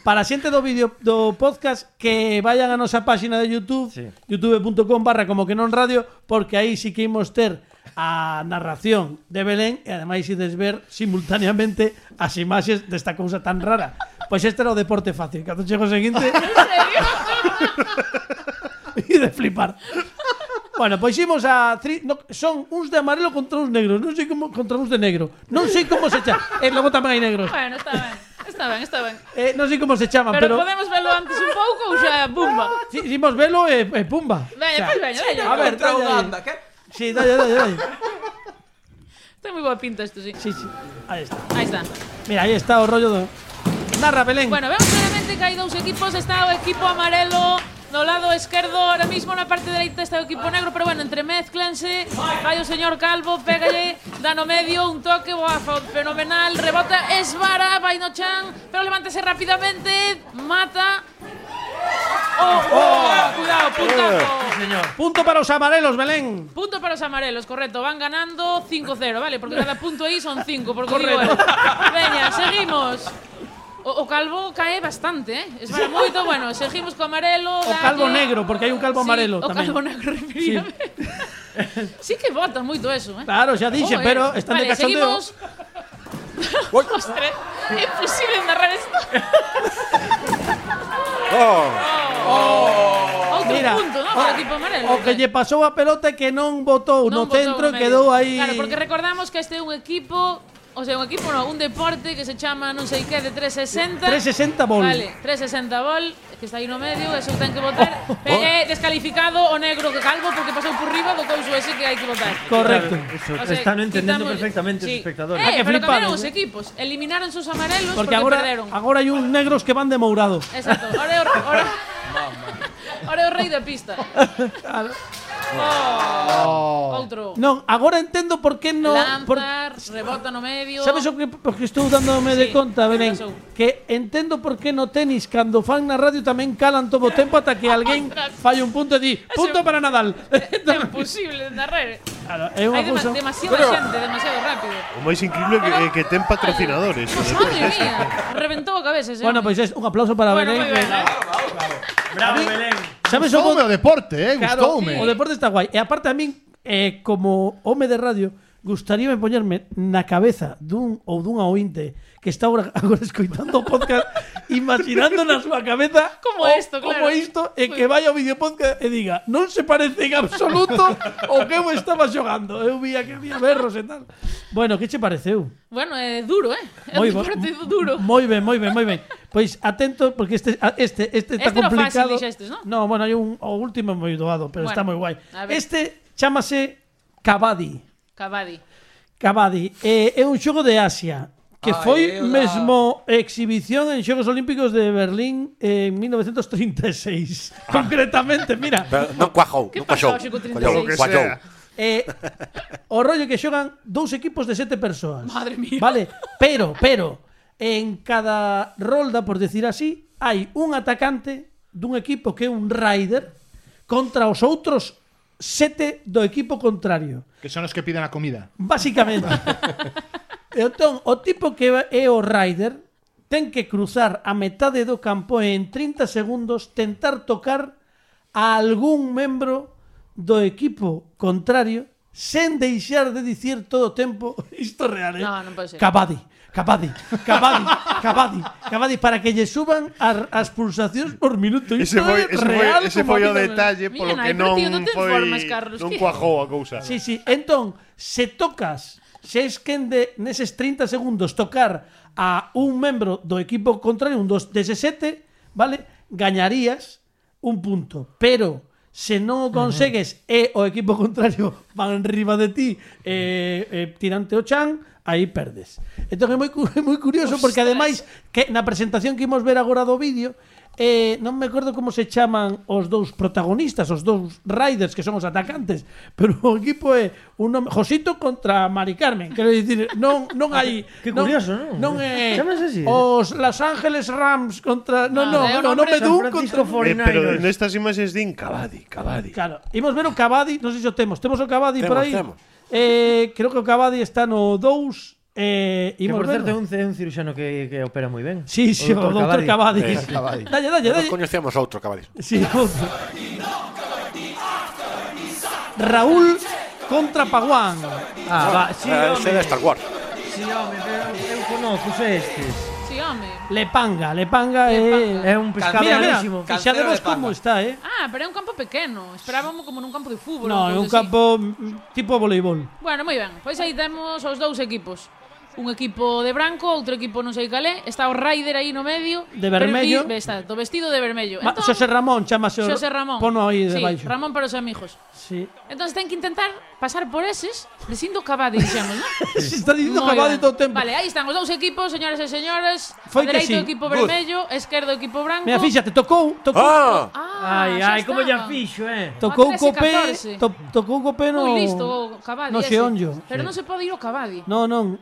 Speaker 2: Para a xente do vídeo do podcast que vayan a nosa páxina de YouTube,
Speaker 3: Sí.
Speaker 2: youtube.com barra como que non radio, porque aí sí que imos ter a narración de Belén e ademais ides ver simultaneamente as imaxes desta cousa tan rara. Pois este era o deporte fácil. Cando chego o seguinte,
Speaker 7: [LAUGHS] En serio?
Speaker 2: e de flipar. Bueno, pois imos a tri... no, son uns de amarelo contra uns negros, non sei como contra uns de negro. Non sei como se chama. E logo tamén hai negros.
Speaker 7: Bueno, está ben. Está ben, está ben.
Speaker 2: Eh, non sei como se chaman, pero,
Speaker 7: Pero, podemos velo antes un pouco ou xa bumba.
Speaker 2: Si, hicimos velo e e pumba.
Speaker 7: Veña,
Speaker 2: O sea,
Speaker 7: pois veña, veña.
Speaker 2: A ver,
Speaker 6: Contra
Speaker 2: dale ahí.
Speaker 6: Uganda, que?
Speaker 2: Sí, dale, dale, dale.
Speaker 7: Ten moi boa pinta isto, sí.
Speaker 2: Sí, sí. Ahí está.
Speaker 7: Aí está.
Speaker 2: Mira, ahí está o rollo do... Narra, Belén.
Speaker 7: Bueno, vemos claramente que hai dous equipos. Está o equipo amarelo no lado esquerdo, ahora mismo na parte dereita está o equipo negro, pero bueno, entremezclanse. Vai o señor Calvo, pégalle, da no medio, un toque, boa, fo- fenomenal, rebota, esvara, vai no chan, pero levántase rapidamente, mata. Oh, oh, cuidado, puntazo.
Speaker 2: Punto para os amarelos, Belén.
Speaker 7: Punto para os amarelos, correcto. Van ganando 5-0, vale? Porque cada punto aí son 5, porque digo eu. Veña, seguimos. O, o calvo cae bastante, eh? Es para moito, bueno, seguimos co amarelo.
Speaker 2: O calvo
Speaker 7: dalle-
Speaker 2: negro, porque hai un calvo amarelo
Speaker 7: sí, o
Speaker 2: tamén.
Speaker 7: calvo negro, referíame. Sí. que votan moito eso, eh?
Speaker 2: Claro, xa dixen,
Speaker 7: Joder.
Speaker 2: Ah, pero están de
Speaker 7: vale,
Speaker 2: cachondeo.
Speaker 7: seguimos. [LAUGHS] Ostras, é imposible narrar esto. oh. Outro
Speaker 2: Mira,
Speaker 7: punto, non? Para o equipo amarelo.
Speaker 2: O que lle pasou a pelota e que non botou no
Speaker 7: Non botou
Speaker 2: centro
Speaker 7: no
Speaker 2: e
Speaker 7: medio.
Speaker 2: quedou aí...
Speaker 7: Claro, porque recordamos que este é un equipo, o sea, un equipo no, un deporte que se chama non sei que de 360.
Speaker 2: 360 bol.
Speaker 7: Vale, 360 vol, que está aí no medio, eso ten que votar. Pero é descalificado o negro que calvo porque pasou por riba do couso ese que hai que votar.
Speaker 2: Correcto.
Speaker 3: Eso, están entendendo perfectamente os espectadores.
Speaker 2: que
Speaker 7: Eh, pero
Speaker 2: fliparon,
Speaker 7: cambiaron os
Speaker 2: eh.
Speaker 7: equipos, eliminaron sus amarelos porque,
Speaker 2: Porque agora,
Speaker 7: perderon.
Speaker 2: agora hai uns negros que van de
Speaker 7: [LAUGHS]
Speaker 2: mourado.
Speaker 7: Exacto. Ahora é o, ahora, ahora é o rei da pista. Oh, Outro.
Speaker 2: Non, agora entendo por que non... por-
Speaker 7: Lanzar, rebota no medio.
Speaker 2: Sabes o que, o que estou dándome de
Speaker 7: Sí,
Speaker 2: conta, Belén?
Speaker 7: pasou.
Speaker 2: Que entendo por que no tenis cando fan na radio tamén calan todo o tempo ata que alguén
Speaker 7: Ostras.
Speaker 2: falla un punto e di punto para Nadal. [LAUGHS]
Speaker 7: É imposible de narrar.
Speaker 2: claro, é unha
Speaker 7: Hai dema
Speaker 2: cousa.
Speaker 7: demasiada xente, demasiado rápido.
Speaker 5: O máis increíble que, que ten patrocinadores.
Speaker 7: [LAUGHS] Madre mía, reventou a cabeza ese
Speaker 2: Bueno,
Speaker 7: home.
Speaker 2: pois pues un aplauso para
Speaker 7: Bueno,
Speaker 2: Belén.
Speaker 7: moi ben,
Speaker 2: que-
Speaker 7: eh.
Speaker 3: Bravo, Belén.
Speaker 2: Sabes o,
Speaker 4: Gustoume
Speaker 2: bo-
Speaker 4: o deporte, eh?
Speaker 2: claro,
Speaker 4: Gustoume.
Speaker 2: o deporte está guai. E aparte a min eh, como home de radio gustaríame poñerme na cabeza dun ou dunha ointe que está agora, [LAUGHS] agora escoitando o podcast imaginando na súa cabeza
Speaker 7: Como
Speaker 2: o-
Speaker 7: esto,
Speaker 2: como
Speaker 7: claro.
Speaker 2: isto e que vai ao videopodcast e diga non se parece en absoluto o que eu estaba xogando eu vía que había berros e tal bueno, que che pareceu?
Speaker 7: Bueno, é duro, eh? É
Speaker 2: Moi
Speaker 7: un
Speaker 2: bo-
Speaker 7: partido duro.
Speaker 2: Moi ben, moi ben, moi ben. Pois Pues, atento porque este a- este este está
Speaker 7: Este era fácil,
Speaker 2: complicado.
Speaker 7: dixestes, non?
Speaker 2: No, bueno, hai un o último é moi doado, pero
Speaker 7: Bueno,
Speaker 2: está moi guai.
Speaker 7: a ver.
Speaker 2: Este chámase Kabaddi.
Speaker 7: Cavadi.
Speaker 2: Kabaddi eh, é un xogo de Asia que
Speaker 6: Ai,
Speaker 2: foi
Speaker 6: eu da-
Speaker 2: mesmo exhibición en Xogos Olímpicos de Berlín en 1936. e Concretamente, mira.
Speaker 8: Pero non cuajou,
Speaker 7: Que
Speaker 8: non cuajou.
Speaker 7: pasaba, Xico, 36?
Speaker 8: Cuajou,
Speaker 7: Lo que
Speaker 8: cuajou.
Speaker 5: sea.
Speaker 2: Eh, o rollo que xogan dous equipos de sete persoas.
Speaker 7: Madre mía.
Speaker 2: Vale, pero, pero, en cada rolda, por decir así, hai un atacante dun equipo que é un rider contra os outros sete do equipo contrario.
Speaker 4: Que son os que piden a comida.
Speaker 2: [LAUGHS] Básicamente. entón, o tipo que é o rider ten que cruzar a metade do campo e en 30 segundos tentar tocar a algún membro do equipo contrario sen deixar de dicir todo o tempo [LAUGHS] isto é real, eh?
Speaker 7: No, non pode ser.
Speaker 2: Cavadi, Cavadi, Cavadi, Cavadi, Cavadi para que lle suban as, as pulsacións por minuto. Isto
Speaker 5: Ese foi,
Speaker 2: é
Speaker 5: ese foi,
Speaker 2: real
Speaker 5: ese
Speaker 2: como
Speaker 5: foi
Speaker 2: a
Speaker 5: o
Speaker 2: vida mesma.
Speaker 5: detalle polo
Speaker 7: Mira,
Speaker 5: que
Speaker 7: nai, pero
Speaker 5: non
Speaker 7: tío, non te
Speaker 5: foi
Speaker 7: informes, Carlos,
Speaker 5: non
Speaker 7: que-
Speaker 5: cuajou a cousa.
Speaker 2: Sí, sí. Entón, se tocas se esquen de, neses 30 segundos tocar a un membro do equipo contrario, un dos dese sete, vale? Gañarías un punto, pero se non o consegues e o equipo contrario [LAUGHS] van riba de ti eh, eh, tirante o chan, aí perdes. Entón é moi, cu- é moi curioso porque
Speaker 7: Ostras.
Speaker 2: ademais que na presentación que imos ver agora do vídeo eh, non me acordo como se chaman os dous protagonistas, os dous riders que son os atacantes, [LAUGHS] pero o equipo é un nome, Josito contra Mari Carmen, quero dicir, non non hai
Speaker 3: [LAUGHS] Que curioso, non?
Speaker 2: Non é
Speaker 3: Chamas así? eh?
Speaker 2: os Los Angeles Rams contra non, non,
Speaker 7: Nada, é un
Speaker 2: non, non
Speaker 7: hombre
Speaker 2: me
Speaker 7: San
Speaker 2: dun
Speaker 3: Francisco
Speaker 2: contra
Speaker 5: Eh, pero
Speaker 3: 49ers.
Speaker 5: en estas imaxes din Cavadi, Cavadi.
Speaker 2: Claro, imos ver o Cavadi, non sei se o temos. Temos o Cavadi
Speaker 8: Temos,
Speaker 2: por aí.
Speaker 8: temos.
Speaker 2: Eh, creo que o Cavadi está no 2 eh
Speaker 3: Que
Speaker 2: imos
Speaker 3: por certo
Speaker 2: ver.
Speaker 3: é un, é un ciruxano que, que opera moi ben.
Speaker 2: Sí, sí, o doutor Cavadi.
Speaker 3: [LAUGHS]
Speaker 6: Cavadi.
Speaker 2: Dalle, dalle,
Speaker 8: Nos
Speaker 2: dalle.
Speaker 8: coñecemos a outro Cavadi.
Speaker 2: Sí, outro. Raúl contra Paguán.
Speaker 3: Ah, va, sí,
Speaker 2: eh,
Speaker 8: Ah,
Speaker 3: home.
Speaker 8: ese de Star Wars.
Speaker 3: Sí, home, pero eu conoco estes.
Speaker 7: Sí, home.
Speaker 2: Lepanga, Lepanga é...
Speaker 7: Lepanga.
Speaker 3: É un pescado
Speaker 2: Mira, mira,
Speaker 3: malísimo.
Speaker 2: fixademos como está, eh?
Speaker 7: Ah, pero é un campo pequeno. Esperábamos como nun campo de fútbol.
Speaker 2: No, é
Speaker 7: cousa
Speaker 2: un
Speaker 7: así.
Speaker 2: campo mm, tipo voleibol.
Speaker 7: Bueno, moi ben. Pois aí temos os dous equipos. Un equipo de branco, outro equipo non sei calé. Está o Raider aí no medio.
Speaker 2: De vermello.
Speaker 7: Pero vi- Está, do vestido de vermello.
Speaker 2: Ma- Xosé Ramón, chamase o...
Speaker 7: Xosé Ramón.
Speaker 2: Pono aí
Speaker 7: sí,
Speaker 2: debaixo.
Speaker 7: Ramón para os amigos.
Speaker 2: Sí.
Speaker 7: Entón ten que intentar pasar por eses, dicindo Cavadi,
Speaker 2: [LAUGHS]
Speaker 7: dixemos, non?
Speaker 2: Se está dicindo
Speaker 7: Moi
Speaker 2: Cavadi
Speaker 7: ben.
Speaker 2: todo o tempo.
Speaker 7: Vale, aí están os dous equipos, señores e señores.
Speaker 2: Foi
Speaker 7: a
Speaker 2: que sí.
Speaker 7: dereito equipo
Speaker 1: Good.
Speaker 7: vermello, esquerdo equipo branco.
Speaker 2: Mira, fíxate, tocou, tocou.
Speaker 8: ¡Ah!
Speaker 7: Ah,
Speaker 3: Ai,
Speaker 7: xa
Speaker 3: ai, como ya
Speaker 7: estaba.
Speaker 3: fixo, eh.
Speaker 2: Tocou
Speaker 7: A
Speaker 2: co pé,
Speaker 7: 13-14.
Speaker 2: to, tocou co pé no...
Speaker 7: Moi listo o Cavadi
Speaker 2: No
Speaker 7: ese.
Speaker 2: xeonllo.
Speaker 7: Pero non se pode ir ao Cavadi.
Speaker 2: Non, non,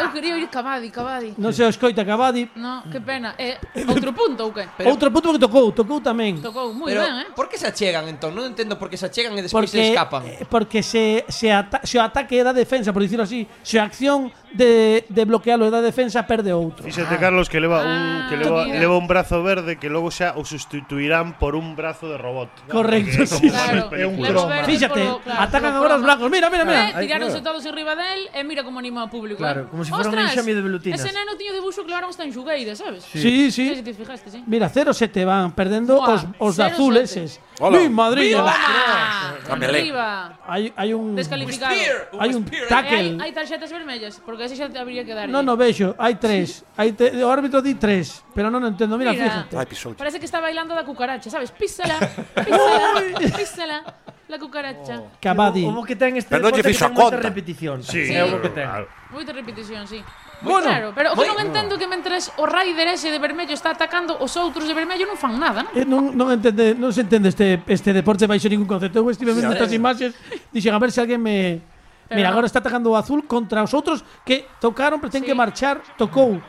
Speaker 7: Eu quería ir Cavadi, Cavadi.
Speaker 2: non se o escoita Cavadi.
Speaker 7: No, que pena. Eh, outro punto ou que?
Speaker 6: Pero-
Speaker 2: Outro punto que tocou, tocou tamén.
Speaker 7: Tocou moi
Speaker 6: Pero,
Speaker 7: ben, eh?
Speaker 6: por que se achegan, entón? Non entendo por que se achegan e despois se
Speaker 2: Porque
Speaker 6: escapan.
Speaker 2: eh, porque se se, ata, se o ataque é da defensa, por dicirlo así, se a acción de, de bloquealo é da defensa perde outro.
Speaker 5: Fíxate, Carlos, que leva un que
Speaker 7: Ah,
Speaker 5: leva,
Speaker 7: mira.
Speaker 5: leva un brazo verde que logo xa o sustituirán por un brazo de robot.
Speaker 2: Correcto,
Speaker 5: Que é
Speaker 2: sí.
Speaker 5: como
Speaker 7: Claro,
Speaker 5: nas películas.
Speaker 7: levo verde
Speaker 2: Fíxate,
Speaker 7: polo- claro,
Speaker 2: atacan
Speaker 7: polo
Speaker 2: agora os
Speaker 7: croma.
Speaker 2: blancos. Mira, mira, mira.
Speaker 7: Eh,
Speaker 3: Ahí,
Speaker 7: tiráronse
Speaker 3: claro.
Speaker 7: todos enriba del e eh, mira como anima o público.
Speaker 3: Claro,
Speaker 7: eh.
Speaker 3: como si fuera un
Speaker 7: Ostras,
Speaker 3: enxame de velutinas.
Speaker 7: Ese neno tiño de buxo que levaron hasta en Xugueira, sabes?
Speaker 2: Sí,
Speaker 7: Non sei se
Speaker 2: sí.
Speaker 7: te fijaste, sí.
Speaker 2: Mira, 0-7 van perdendo
Speaker 7: Buah,
Speaker 2: os os de azul
Speaker 7: 0-7.
Speaker 2: eses.
Speaker 8: Hola.
Speaker 2: Mi Madrid.
Speaker 7: Toma,
Speaker 8: Camele.
Speaker 7: Arriba.
Speaker 2: Hai hai un
Speaker 7: Descalificado.
Speaker 2: hai un
Speaker 7: Eh, hai,
Speaker 2: tackle.
Speaker 7: hai tarxetas vermellas, porque ese xa te habría que dar. eh.
Speaker 2: No, no vexo, hai tres. Hai te, o árbitro di tres, pero non o entendo. Mira,
Speaker 7: Mira.
Speaker 2: fíjate.
Speaker 8: Ai, pisou.
Speaker 7: Parece que está bailando da cucaracha,
Speaker 2: [LAUGHS]
Speaker 7: sabes? Písala, písala, písala. La cucaracha.
Speaker 2: Cavadi.
Speaker 3: O, o bo que ten este
Speaker 8: Pero non lle
Speaker 3: deporte que
Speaker 8: fixo
Speaker 3: ten
Speaker 8: conta.
Speaker 3: moitas repeticións.
Speaker 5: Sí,
Speaker 7: Sí.
Speaker 3: É
Speaker 5: é
Speaker 3: o
Speaker 5: bueno,
Speaker 3: bo que ten.
Speaker 5: claro. Eh,
Speaker 7: Moita repetición, sí. Moi
Speaker 2: Bueno,
Speaker 7: claro, pero o que
Speaker 6: moi-
Speaker 7: non entendo é que mentres o Raider ese de vermello está atacando os outros de vermello non fan nada, non?
Speaker 2: Eh, non, non entende, non se entende este este deporte baixo ningún concepto. Eu estive vendo estas imaxes, dixen a ver se alguén me
Speaker 7: Pero
Speaker 2: Mira,
Speaker 7: non.
Speaker 2: agora está atacando o azul contra os outros que tocaron, pero ten
Speaker 7: Sí.
Speaker 2: que marchar, tocou.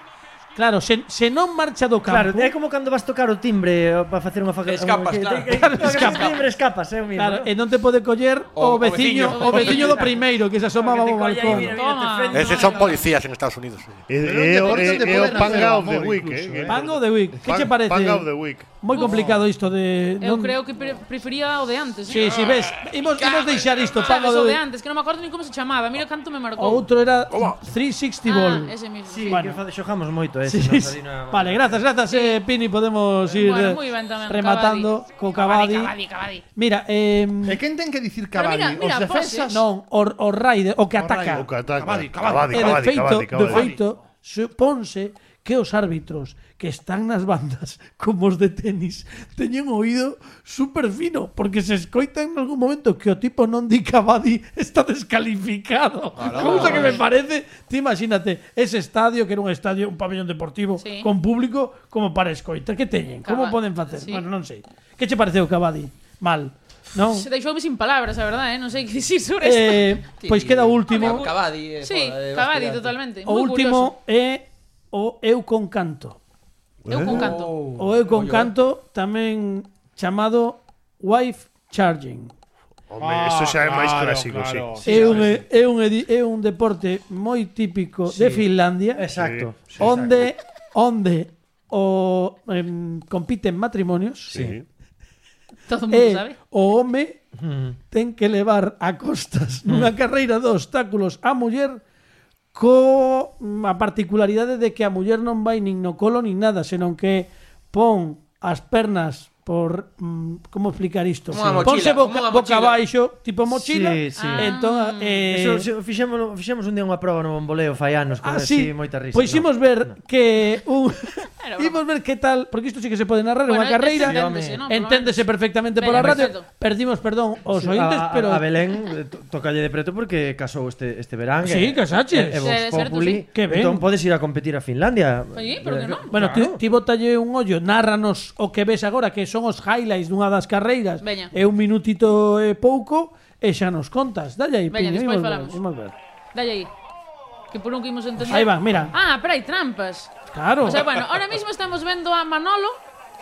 Speaker 2: Claro, se, se non marcha do
Speaker 3: Claro,
Speaker 2: campo.
Speaker 3: é como cando vas tocar o timbre eh, para facer unha faga.
Speaker 6: Escapas,
Speaker 3: que-
Speaker 6: claro.
Speaker 3: que- que- tocas
Speaker 2: Escapas.
Speaker 3: o timbre, escapas, é o mismo.
Speaker 2: Claro, e non te pode coller o,
Speaker 6: O- o
Speaker 2: veciño, o
Speaker 6: veciño.
Speaker 2: veciño
Speaker 6: [LAUGHS]
Speaker 2: do primeiro que se asomaba
Speaker 3: Que te
Speaker 2: ao
Speaker 3: colla aí,
Speaker 2: balcón.
Speaker 3: mira, mira, te
Speaker 7: Toma.
Speaker 2: Eh,
Speaker 3: fende.
Speaker 8: Eses son policías en Estados Unidos.
Speaker 4: Pero é un
Speaker 5: É, é, o-
Speaker 4: deporte
Speaker 5: é,
Speaker 4: onde
Speaker 5: é o
Speaker 4: poden
Speaker 5: Panga
Speaker 4: hacer
Speaker 5: of the
Speaker 4: amor,
Speaker 5: Week,
Speaker 4: incluso,
Speaker 5: eh.
Speaker 4: eh.
Speaker 2: Pango de Wick, que che parece?
Speaker 5: Panga of the Week.
Speaker 2: Moi complicado isto de
Speaker 7: Eu creo que pre prefería o de antes,
Speaker 2: Sí,
Speaker 7: eh?
Speaker 2: sí, ves, imos, imos deixar isto,
Speaker 7: Sabes,
Speaker 2: Pango
Speaker 7: o
Speaker 2: de
Speaker 7: de
Speaker 2: Wick.
Speaker 7: antes, que non me acordo nin como se chamaba. Mira canto me marcou.
Speaker 2: O outro era
Speaker 8: Oba.
Speaker 2: 360 ball.
Speaker 7: ah, ese mismo.
Speaker 3: Sí,
Speaker 7: Sí.
Speaker 3: que fa- xogamos moito eh, ese.
Speaker 2: Sí,
Speaker 3: non?
Speaker 2: sí.
Speaker 3: Ali na-
Speaker 2: Vale, gracias, gracias, eh, Pini. Podemos ir eh,
Speaker 7: Bueno, moi ben tamén.
Speaker 2: rematando
Speaker 7: Cavadi.
Speaker 2: con Cavadi.
Speaker 7: Cavadi, Cavadi.
Speaker 2: Mira, eh,
Speaker 4: E quen ten que dicir
Speaker 7: Pero
Speaker 4: Cavani?
Speaker 7: mira, mira,
Speaker 4: os defensas?
Speaker 7: poses.
Speaker 2: non, o, o Raider, o que ataca.
Speaker 5: O que ataca.
Speaker 4: Cavadi,
Speaker 2: E
Speaker 5: Cavadi,
Speaker 2: de
Speaker 5: Cavadi,
Speaker 2: feito,
Speaker 5: Cavadi,
Speaker 2: de
Speaker 5: Cavadi.
Speaker 2: feito, suponse que os árbitros que están nas bandas [LAUGHS] como os de tenis teñen o oído super fino porque se escoitan en algún momento que o tipo non di Cavadi está descalificado cousa que me parece ti imagínate ese estadio que era un estadio un pabellón deportivo
Speaker 7: Sí.
Speaker 2: con público como para escoitar que teñen como
Speaker 7: Cava-
Speaker 2: poden facer
Speaker 7: sí.
Speaker 2: bueno non sei que che pareceu Cavadi mal
Speaker 7: [LAUGHS]
Speaker 2: non
Speaker 7: Se deixoume sin palabras, a verdade, eh? Non [LAUGHS] sei que dicir sobre
Speaker 2: eh,
Speaker 7: isto.
Speaker 2: pois queda o último
Speaker 6: Cavadi, eh,
Speaker 7: Sí,
Speaker 6: joder, eh,
Speaker 7: Cavadi,
Speaker 6: hostia. [LAUGHS]
Speaker 7: totalmente.
Speaker 2: O
Speaker 7: Moi
Speaker 2: último é o Eu con canto.
Speaker 7: curioso. Eu
Speaker 2: eh,
Speaker 7: con canto.
Speaker 5: Uh,
Speaker 2: O Eu con canto tamén chamado Wife Charging.
Speaker 5: Home, isto
Speaker 4: Ah,
Speaker 5: xa é máis clásico, sí.
Speaker 2: É un, é, un, edi- é un deporte moi típico de Finlandia
Speaker 3: Exacto.
Speaker 2: onde onde o em, compiten matrimonios
Speaker 5: Sí.
Speaker 7: Todo o mundo
Speaker 2: e
Speaker 7: sabe.
Speaker 2: o home ten que levar a costas nunha carreira de obstáculos a muller co mm, a particularidade de que a muller non vai nin no colo nin nada, senón que pon as pernas por mm, como explicar isto?
Speaker 6: Como unha
Speaker 2: Ponse
Speaker 6: mochila, como
Speaker 2: boca,
Speaker 6: unha
Speaker 2: boca
Speaker 6: mochila.
Speaker 2: abaixo, tipo mochila.
Speaker 3: Sí, sí.
Speaker 2: e Entón, eh,
Speaker 3: Eso, se- fixémolo- fixemos un día unha proba no bomboleo fai anos con
Speaker 2: Ah,
Speaker 3: así
Speaker 2: sí.
Speaker 3: moita risa.
Speaker 2: Pois
Speaker 3: no.
Speaker 2: imos ver
Speaker 3: No.
Speaker 2: que un [LAUGHS]
Speaker 7: Era broma.
Speaker 2: imos ver que tal, porque isto sí que se pode narrar en
Speaker 7: Bueno,
Speaker 2: unha
Speaker 7: este
Speaker 2: carreira.
Speaker 3: sí,
Speaker 7: enténdese,
Speaker 3: home.
Speaker 7: ¿no? Por lo menos.
Speaker 2: Enténdese perfectamente pola
Speaker 7: Venga,
Speaker 2: radio.
Speaker 7: perfecto.
Speaker 2: Perdimos, perdón, os ointes,
Speaker 3: a, a-
Speaker 2: pero
Speaker 3: a Belén eh, to- tocalle de preto porque casou este este verán.
Speaker 2: Sí,
Speaker 3: eh,
Speaker 2: casaches.
Speaker 3: eh, eh, Vox
Speaker 7: Sí, de certo,
Speaker 3: Populi.
Speaker 7: sí.
Speaker 2: Que ben.
Speaker 3: Entón podes ir a competir a Finlandia.
Speaker 7: Oye, pero que non.
Speaker 2: Bueno,
Speaker 3: Claro.
Speaker 2: ti, ti botalle un ollo, nárranos o que ves agora que son os highlights dunha das carreiras.
Speaker 7: Veña.
Speaker 2: É un minutito e pouco e xa nos contas. Dalle aí,
Speaker 7: Veña,
Speaker 2: piña,
Speaker 7: despois
Speaker 2: imos ver,
Speaker 7: falamos.
Speaker 2: imos ver.
Speaker 7: Dalle aí. Que por un que imos entender.
Speaker 2: Aí van, mira.
Speaker 7: Ah, pero hai trampas.
Speaker 2: Claro.
Speaker 7: O sea, bueno, ahora mismo estamos vendo a Manolo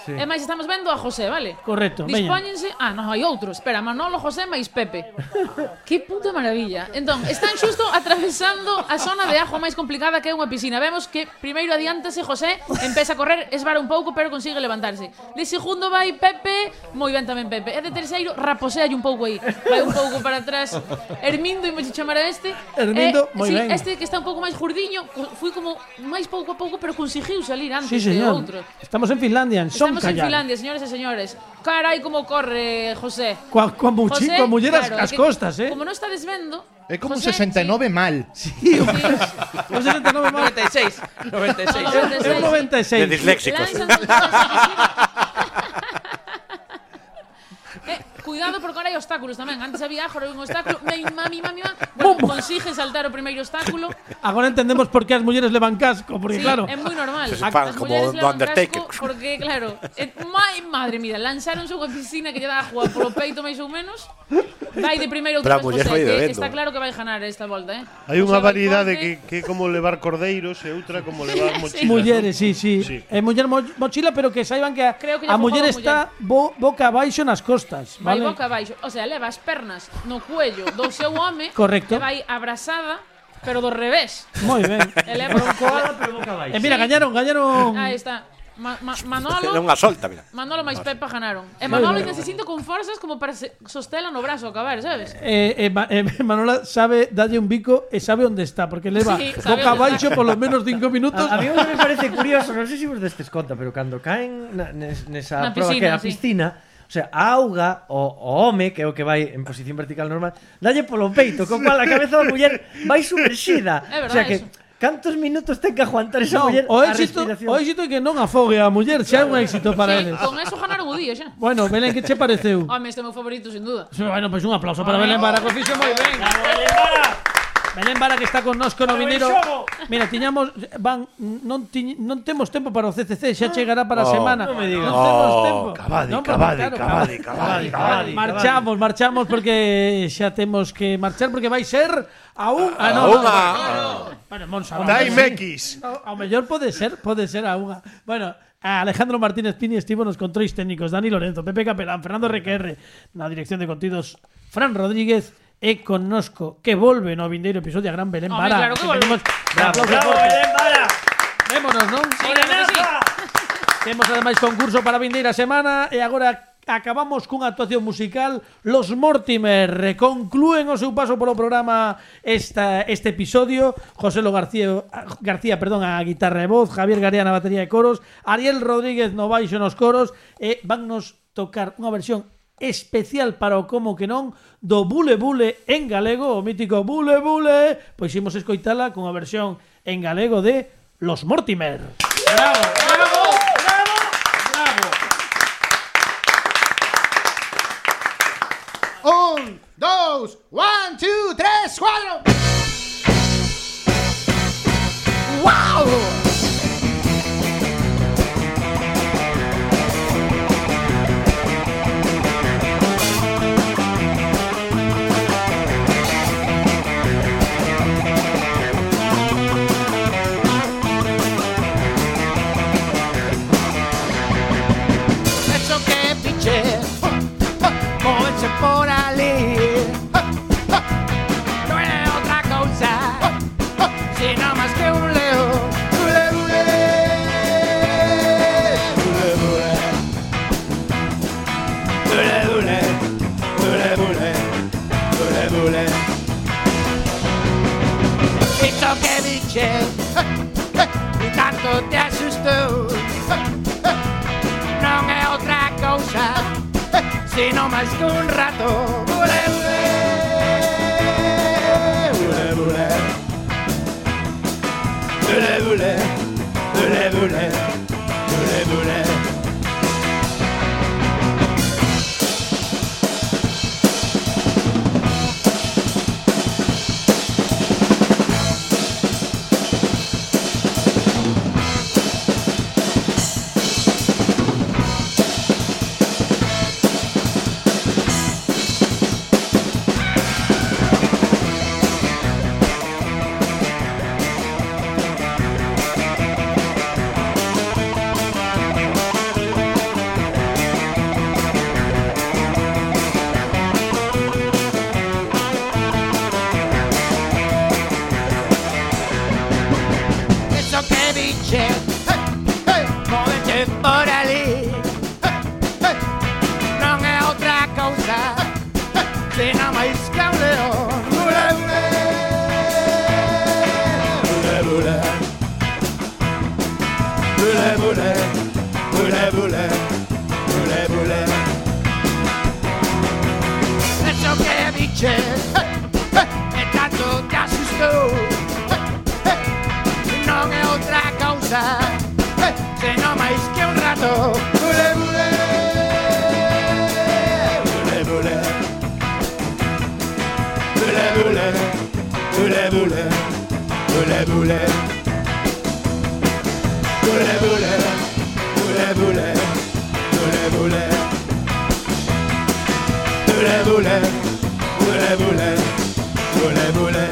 Speaker 3: Sí.
Speaker 7: e máis estamos vendo a José, vale?
Speaker 2: Correcto, veña.
Speaker 7: Dispóñense... Ah, non, hai outro. Espera, Manolo, José máis Pepe.
Speaker 2: [LAUGHS]
Speaker 7: que puta maravilla. Entón, están xusto atravesando a zona de ajo máis complicada que é unha piscina. Vemos que primeiro adiántase José, empeza a correr, esvara un pouco, pero consigue levantarse. De segundo vai Pepe, moi ben tamén Pepe. E de terceiro, raposea un pouco aí. Vai un pouco para atrás. Hermindo, imos chamar a este.
Speaker 2: Hermindo,
Speaker 7: Eh,
Speaker 2: moi
Speaker 7: sí,
Speaker 2: ben.
Speaker 7: Este que está un pouco máis jordiño, fui como máis pouco a pouco, pero conseguiu salir antes
Speaker 2: sí,
Speaker 7: de
Speaker 2: señor.
Speaker 7: outro.
Speaker 2: Estamos en Finlandia, en
Speaker 7: Estamos en
Speaker 2: Sonkajal.
Speaker 7: Finlandia, señores e señores. Carai como corre José.
Speaker 2: Coa, coa, muchi,
Speaker 7: José,
Speaker 2: coa muller as-
Speaker 7: claro, é
Speaker 2: as
Speaker 7: que
Speaker 2: costas, eh?
Speaker 7: Como non está desvendo...
Speaker 4: É como un
Speaker 7: José,
Speaker 4: 69 mal. [LAUGHS]
Speaker 2: Sí, un- un 69
Speaker 7: [LAUGHS]
Speaker 2: máis.
Speaker 6: 96. 96.
Speaker 2: É un 96.
Speaker 8: De disléxicos.
Speaker 7: Lanzan todas as- [LAUGHS] Eh, cuidado porque ahora hai obstáculos tamén. Antes había agora un obstáculo. Mami, mami, mami, mami. Bueno,
Speaker 2: Bum.
Speaker 7: consigue saltar o primeiro obstáculo.
Speaker 2: Agora entendemos por que as mulleres levan casco, porque
Speaker 7: Sí,
Speaker 2: claro,
Speaker 7: é moi normal.
Speaker 8: Se separan
Speaker 7: As
Speaker 8: como
Speaker 7: mulleres
Speaker 8: do
Speaker 7: levan
Speaker 8: Undertaker.
Speaker 7: casco Porque, claro, eh, mai, madre mía, lanzáronse unha piscina que lle daba a jugar polo peito máis ou menos. Vai de primeiro
Speaker 8: Pero a
Speaker 7: outra
Speaker 8: muller
Speaker 7: vez
Speaker 8: vai
Speaker 7: José, que
Speaker 8: bebendo.
Speaker 7: está claro que vai ganar esta volta, eh.
Speaker 5: Hai unha
Speaker 7: José vai
Speaker 5: variedade
Speaker 7: forte.
Speaker 5: que, que é como levar cordeiros e outra como
Speaker 7: [LAUGHS]
Speaker 5: levar mochilas.
Speaker 2: mulleres, sí, sí.
Speaker 5: Sí.
Speaker 2: É muller mo- mochila, pero que saiban que a,
Speaker 7: Creo que lle
Speaker 2: a
Speaker 7: fojou
Speaker 2: muller
Speaker 7: a
Speaker 2: está bo- boca abaixo nas costas,
Speaker 7: Vai
Speaker 2: vale?
Speaker 7: boca abaixo, o sea, leva as pernas no cuello do seu home
Speaker 2: Correcto.
Speaker 7: e vai abrazada, pero do revés.
Speaker 2: Moi ben.
Speaker 7: [LAUGHS] E leva un [LAUGHS]
Speaker 3: Coala, pero boca abaixo.
Speaker 2: E mira, gañaron, gañaron.
Speaker 7: Aí está. Ma, ma,
Speaker 8: Era
Speaker 7: Manolo,
Speaker 8: unha solta, mira.
Speaker 7: Manolo máis Pepa ganaron. E Manolo
Speaker 2: ben.
Speaker 7: ainda se sinto con forzas como para se- sostela no brazo a acabar, sabes?
Speaker 2: Eh, eh, Ma- eh, [LAUGHS] Manola sabe dalle un bico e sabe onde está, porque leva
Speaker 7: Sí, sabe
Speaker 2: boca
Speaker 7: onde
Speaker 2: abaixo
Speaker 7: está.
Speaker 2: polo menos cinco minutos.
Speaker 3: A, a mí o que me parece curioso, non sei se vos destes conta, pero cando caen na, nes, nesa
Speaker 7: Na
Speaker 3: proba
Speaker 7: piscina,
Speaker 3: que era a
Speaker 7: sí.
Speaker 3: piscina, o sea, a auga, o, o home, que é o que vai en posición vertical normal, dalle polo peito, co cual a cabeza da muller vai sumerxida.
Speaker 7: É
Speaker 3: o sea
Speaker 7: verdad
Speaker 3: que,
Speaker 7: eso.
Speaker 3: cantos minutos ten que aguantar esa
Speaker 2: Non,
Speaker 3: muller
Speaker 2: o
Speaker 3: a
Speaker 2: éxito,
Speaker 3: respiración?
Speaker 2: o éxito é que non afogue a muller, xa é un éxito para
Speaker 7: Sí,
Speaker 2: eles.
Speaker 7: con eso ganaron o día, xa.
Speaker 2: Bueno, Belén, que che pareceu?
Speaker 7: Home, este é o meu favorito, sin duda.
Speaker 2: Bueno, pois un aplauso para Belén Vara, que o fixo moi ben. Belén Vara que está con nos con o vinero. Mira, tiñamos van non tiñ, non temos tempo para o CCC, xa chegará para a
Speaker 8: Oh.
Speaker 2: semana.
Speaker 3: Non me digas.
Speaker 2: Non temos tempo.
Speaker 5: cavade,
Speaker 2: Non,
Speaker 5: cavade,
Speaker 2: claro,
Speaker 5: cavade,
Speaker 3: Cavadi, cavadi,
Speaker 2: Marchamos, marchamos porque xa temos que marchar porque vai ser a un a non.
Speaker 8: unha.
Speaker 2: Bueno, Monsa,
Speaker 5: Time X.
Speaker 2: Ao mellor pode ser, pode ser a unha. Bueno, a Alejandro Martínez Pini estivo nos controis técnicos, Dani Lorenzo, Pepe Capelán, Fernando Requerre, na dirección de contidos, Fran Rodríguez e connosco que volve no vindeiro episodio a Gran Belén
Speaker 7: Home,
Speaker 2: Vara.
Speaker 7: claro que volve.
Speaker 2: pedimos un aplauso forte. Vémonos, non? Temos ademais concurso para a vindeira semana e agora acabamos cunha actuación musical Los Mortimer conclúen o seu paso polo programa esta, este episodio José Lo García, García perdón, a guitarra e voz Javier Garea na batería e coros Ariel Rodríguez no baixo nos coros e vannos tocar unha versión especial para o como que non do Bule Bule en galego o mítico Bule Bule pois imos escoitala cunha versión en galego de Los Mortimer Bravo, bravo, bravo, bravo
Speaker 4: Un, dos, one, two, tres, cuatro.
Speaker 9: Eso que piché, moverse por allí, no era otra cosa, sino más que un león. Ule, ule, ule, ule. Ule, ule, ule, ule, ule, ule. Eso que piché, y tanto te asustó. non é outra cousa
Speaker 4: sino máis cun rato. Ule, ule, ule, ule. Ule, ule, ule, ule, ule, ule. It's okay, biche. Hey, hey. Móvete por ali. Hey, hey. Non é outra cousa. Hey, hey. Senón máis que un león. Ule, ule. Ule, ule. Ule, ule. Ule, ule. Ule, ule. It's okay, biche. Hey, hey. E tanto te asustou. Hey, hey. non é outra causa eh, Senón máis que un rato Bule, bule Bule, bule Bule, bule Bule, bule Bule, bule Bule, bule Bule, bule Bule, bule Bule, bule Bule, bule Bule, bule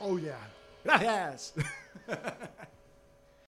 Speaker 4: Oh, Gracias.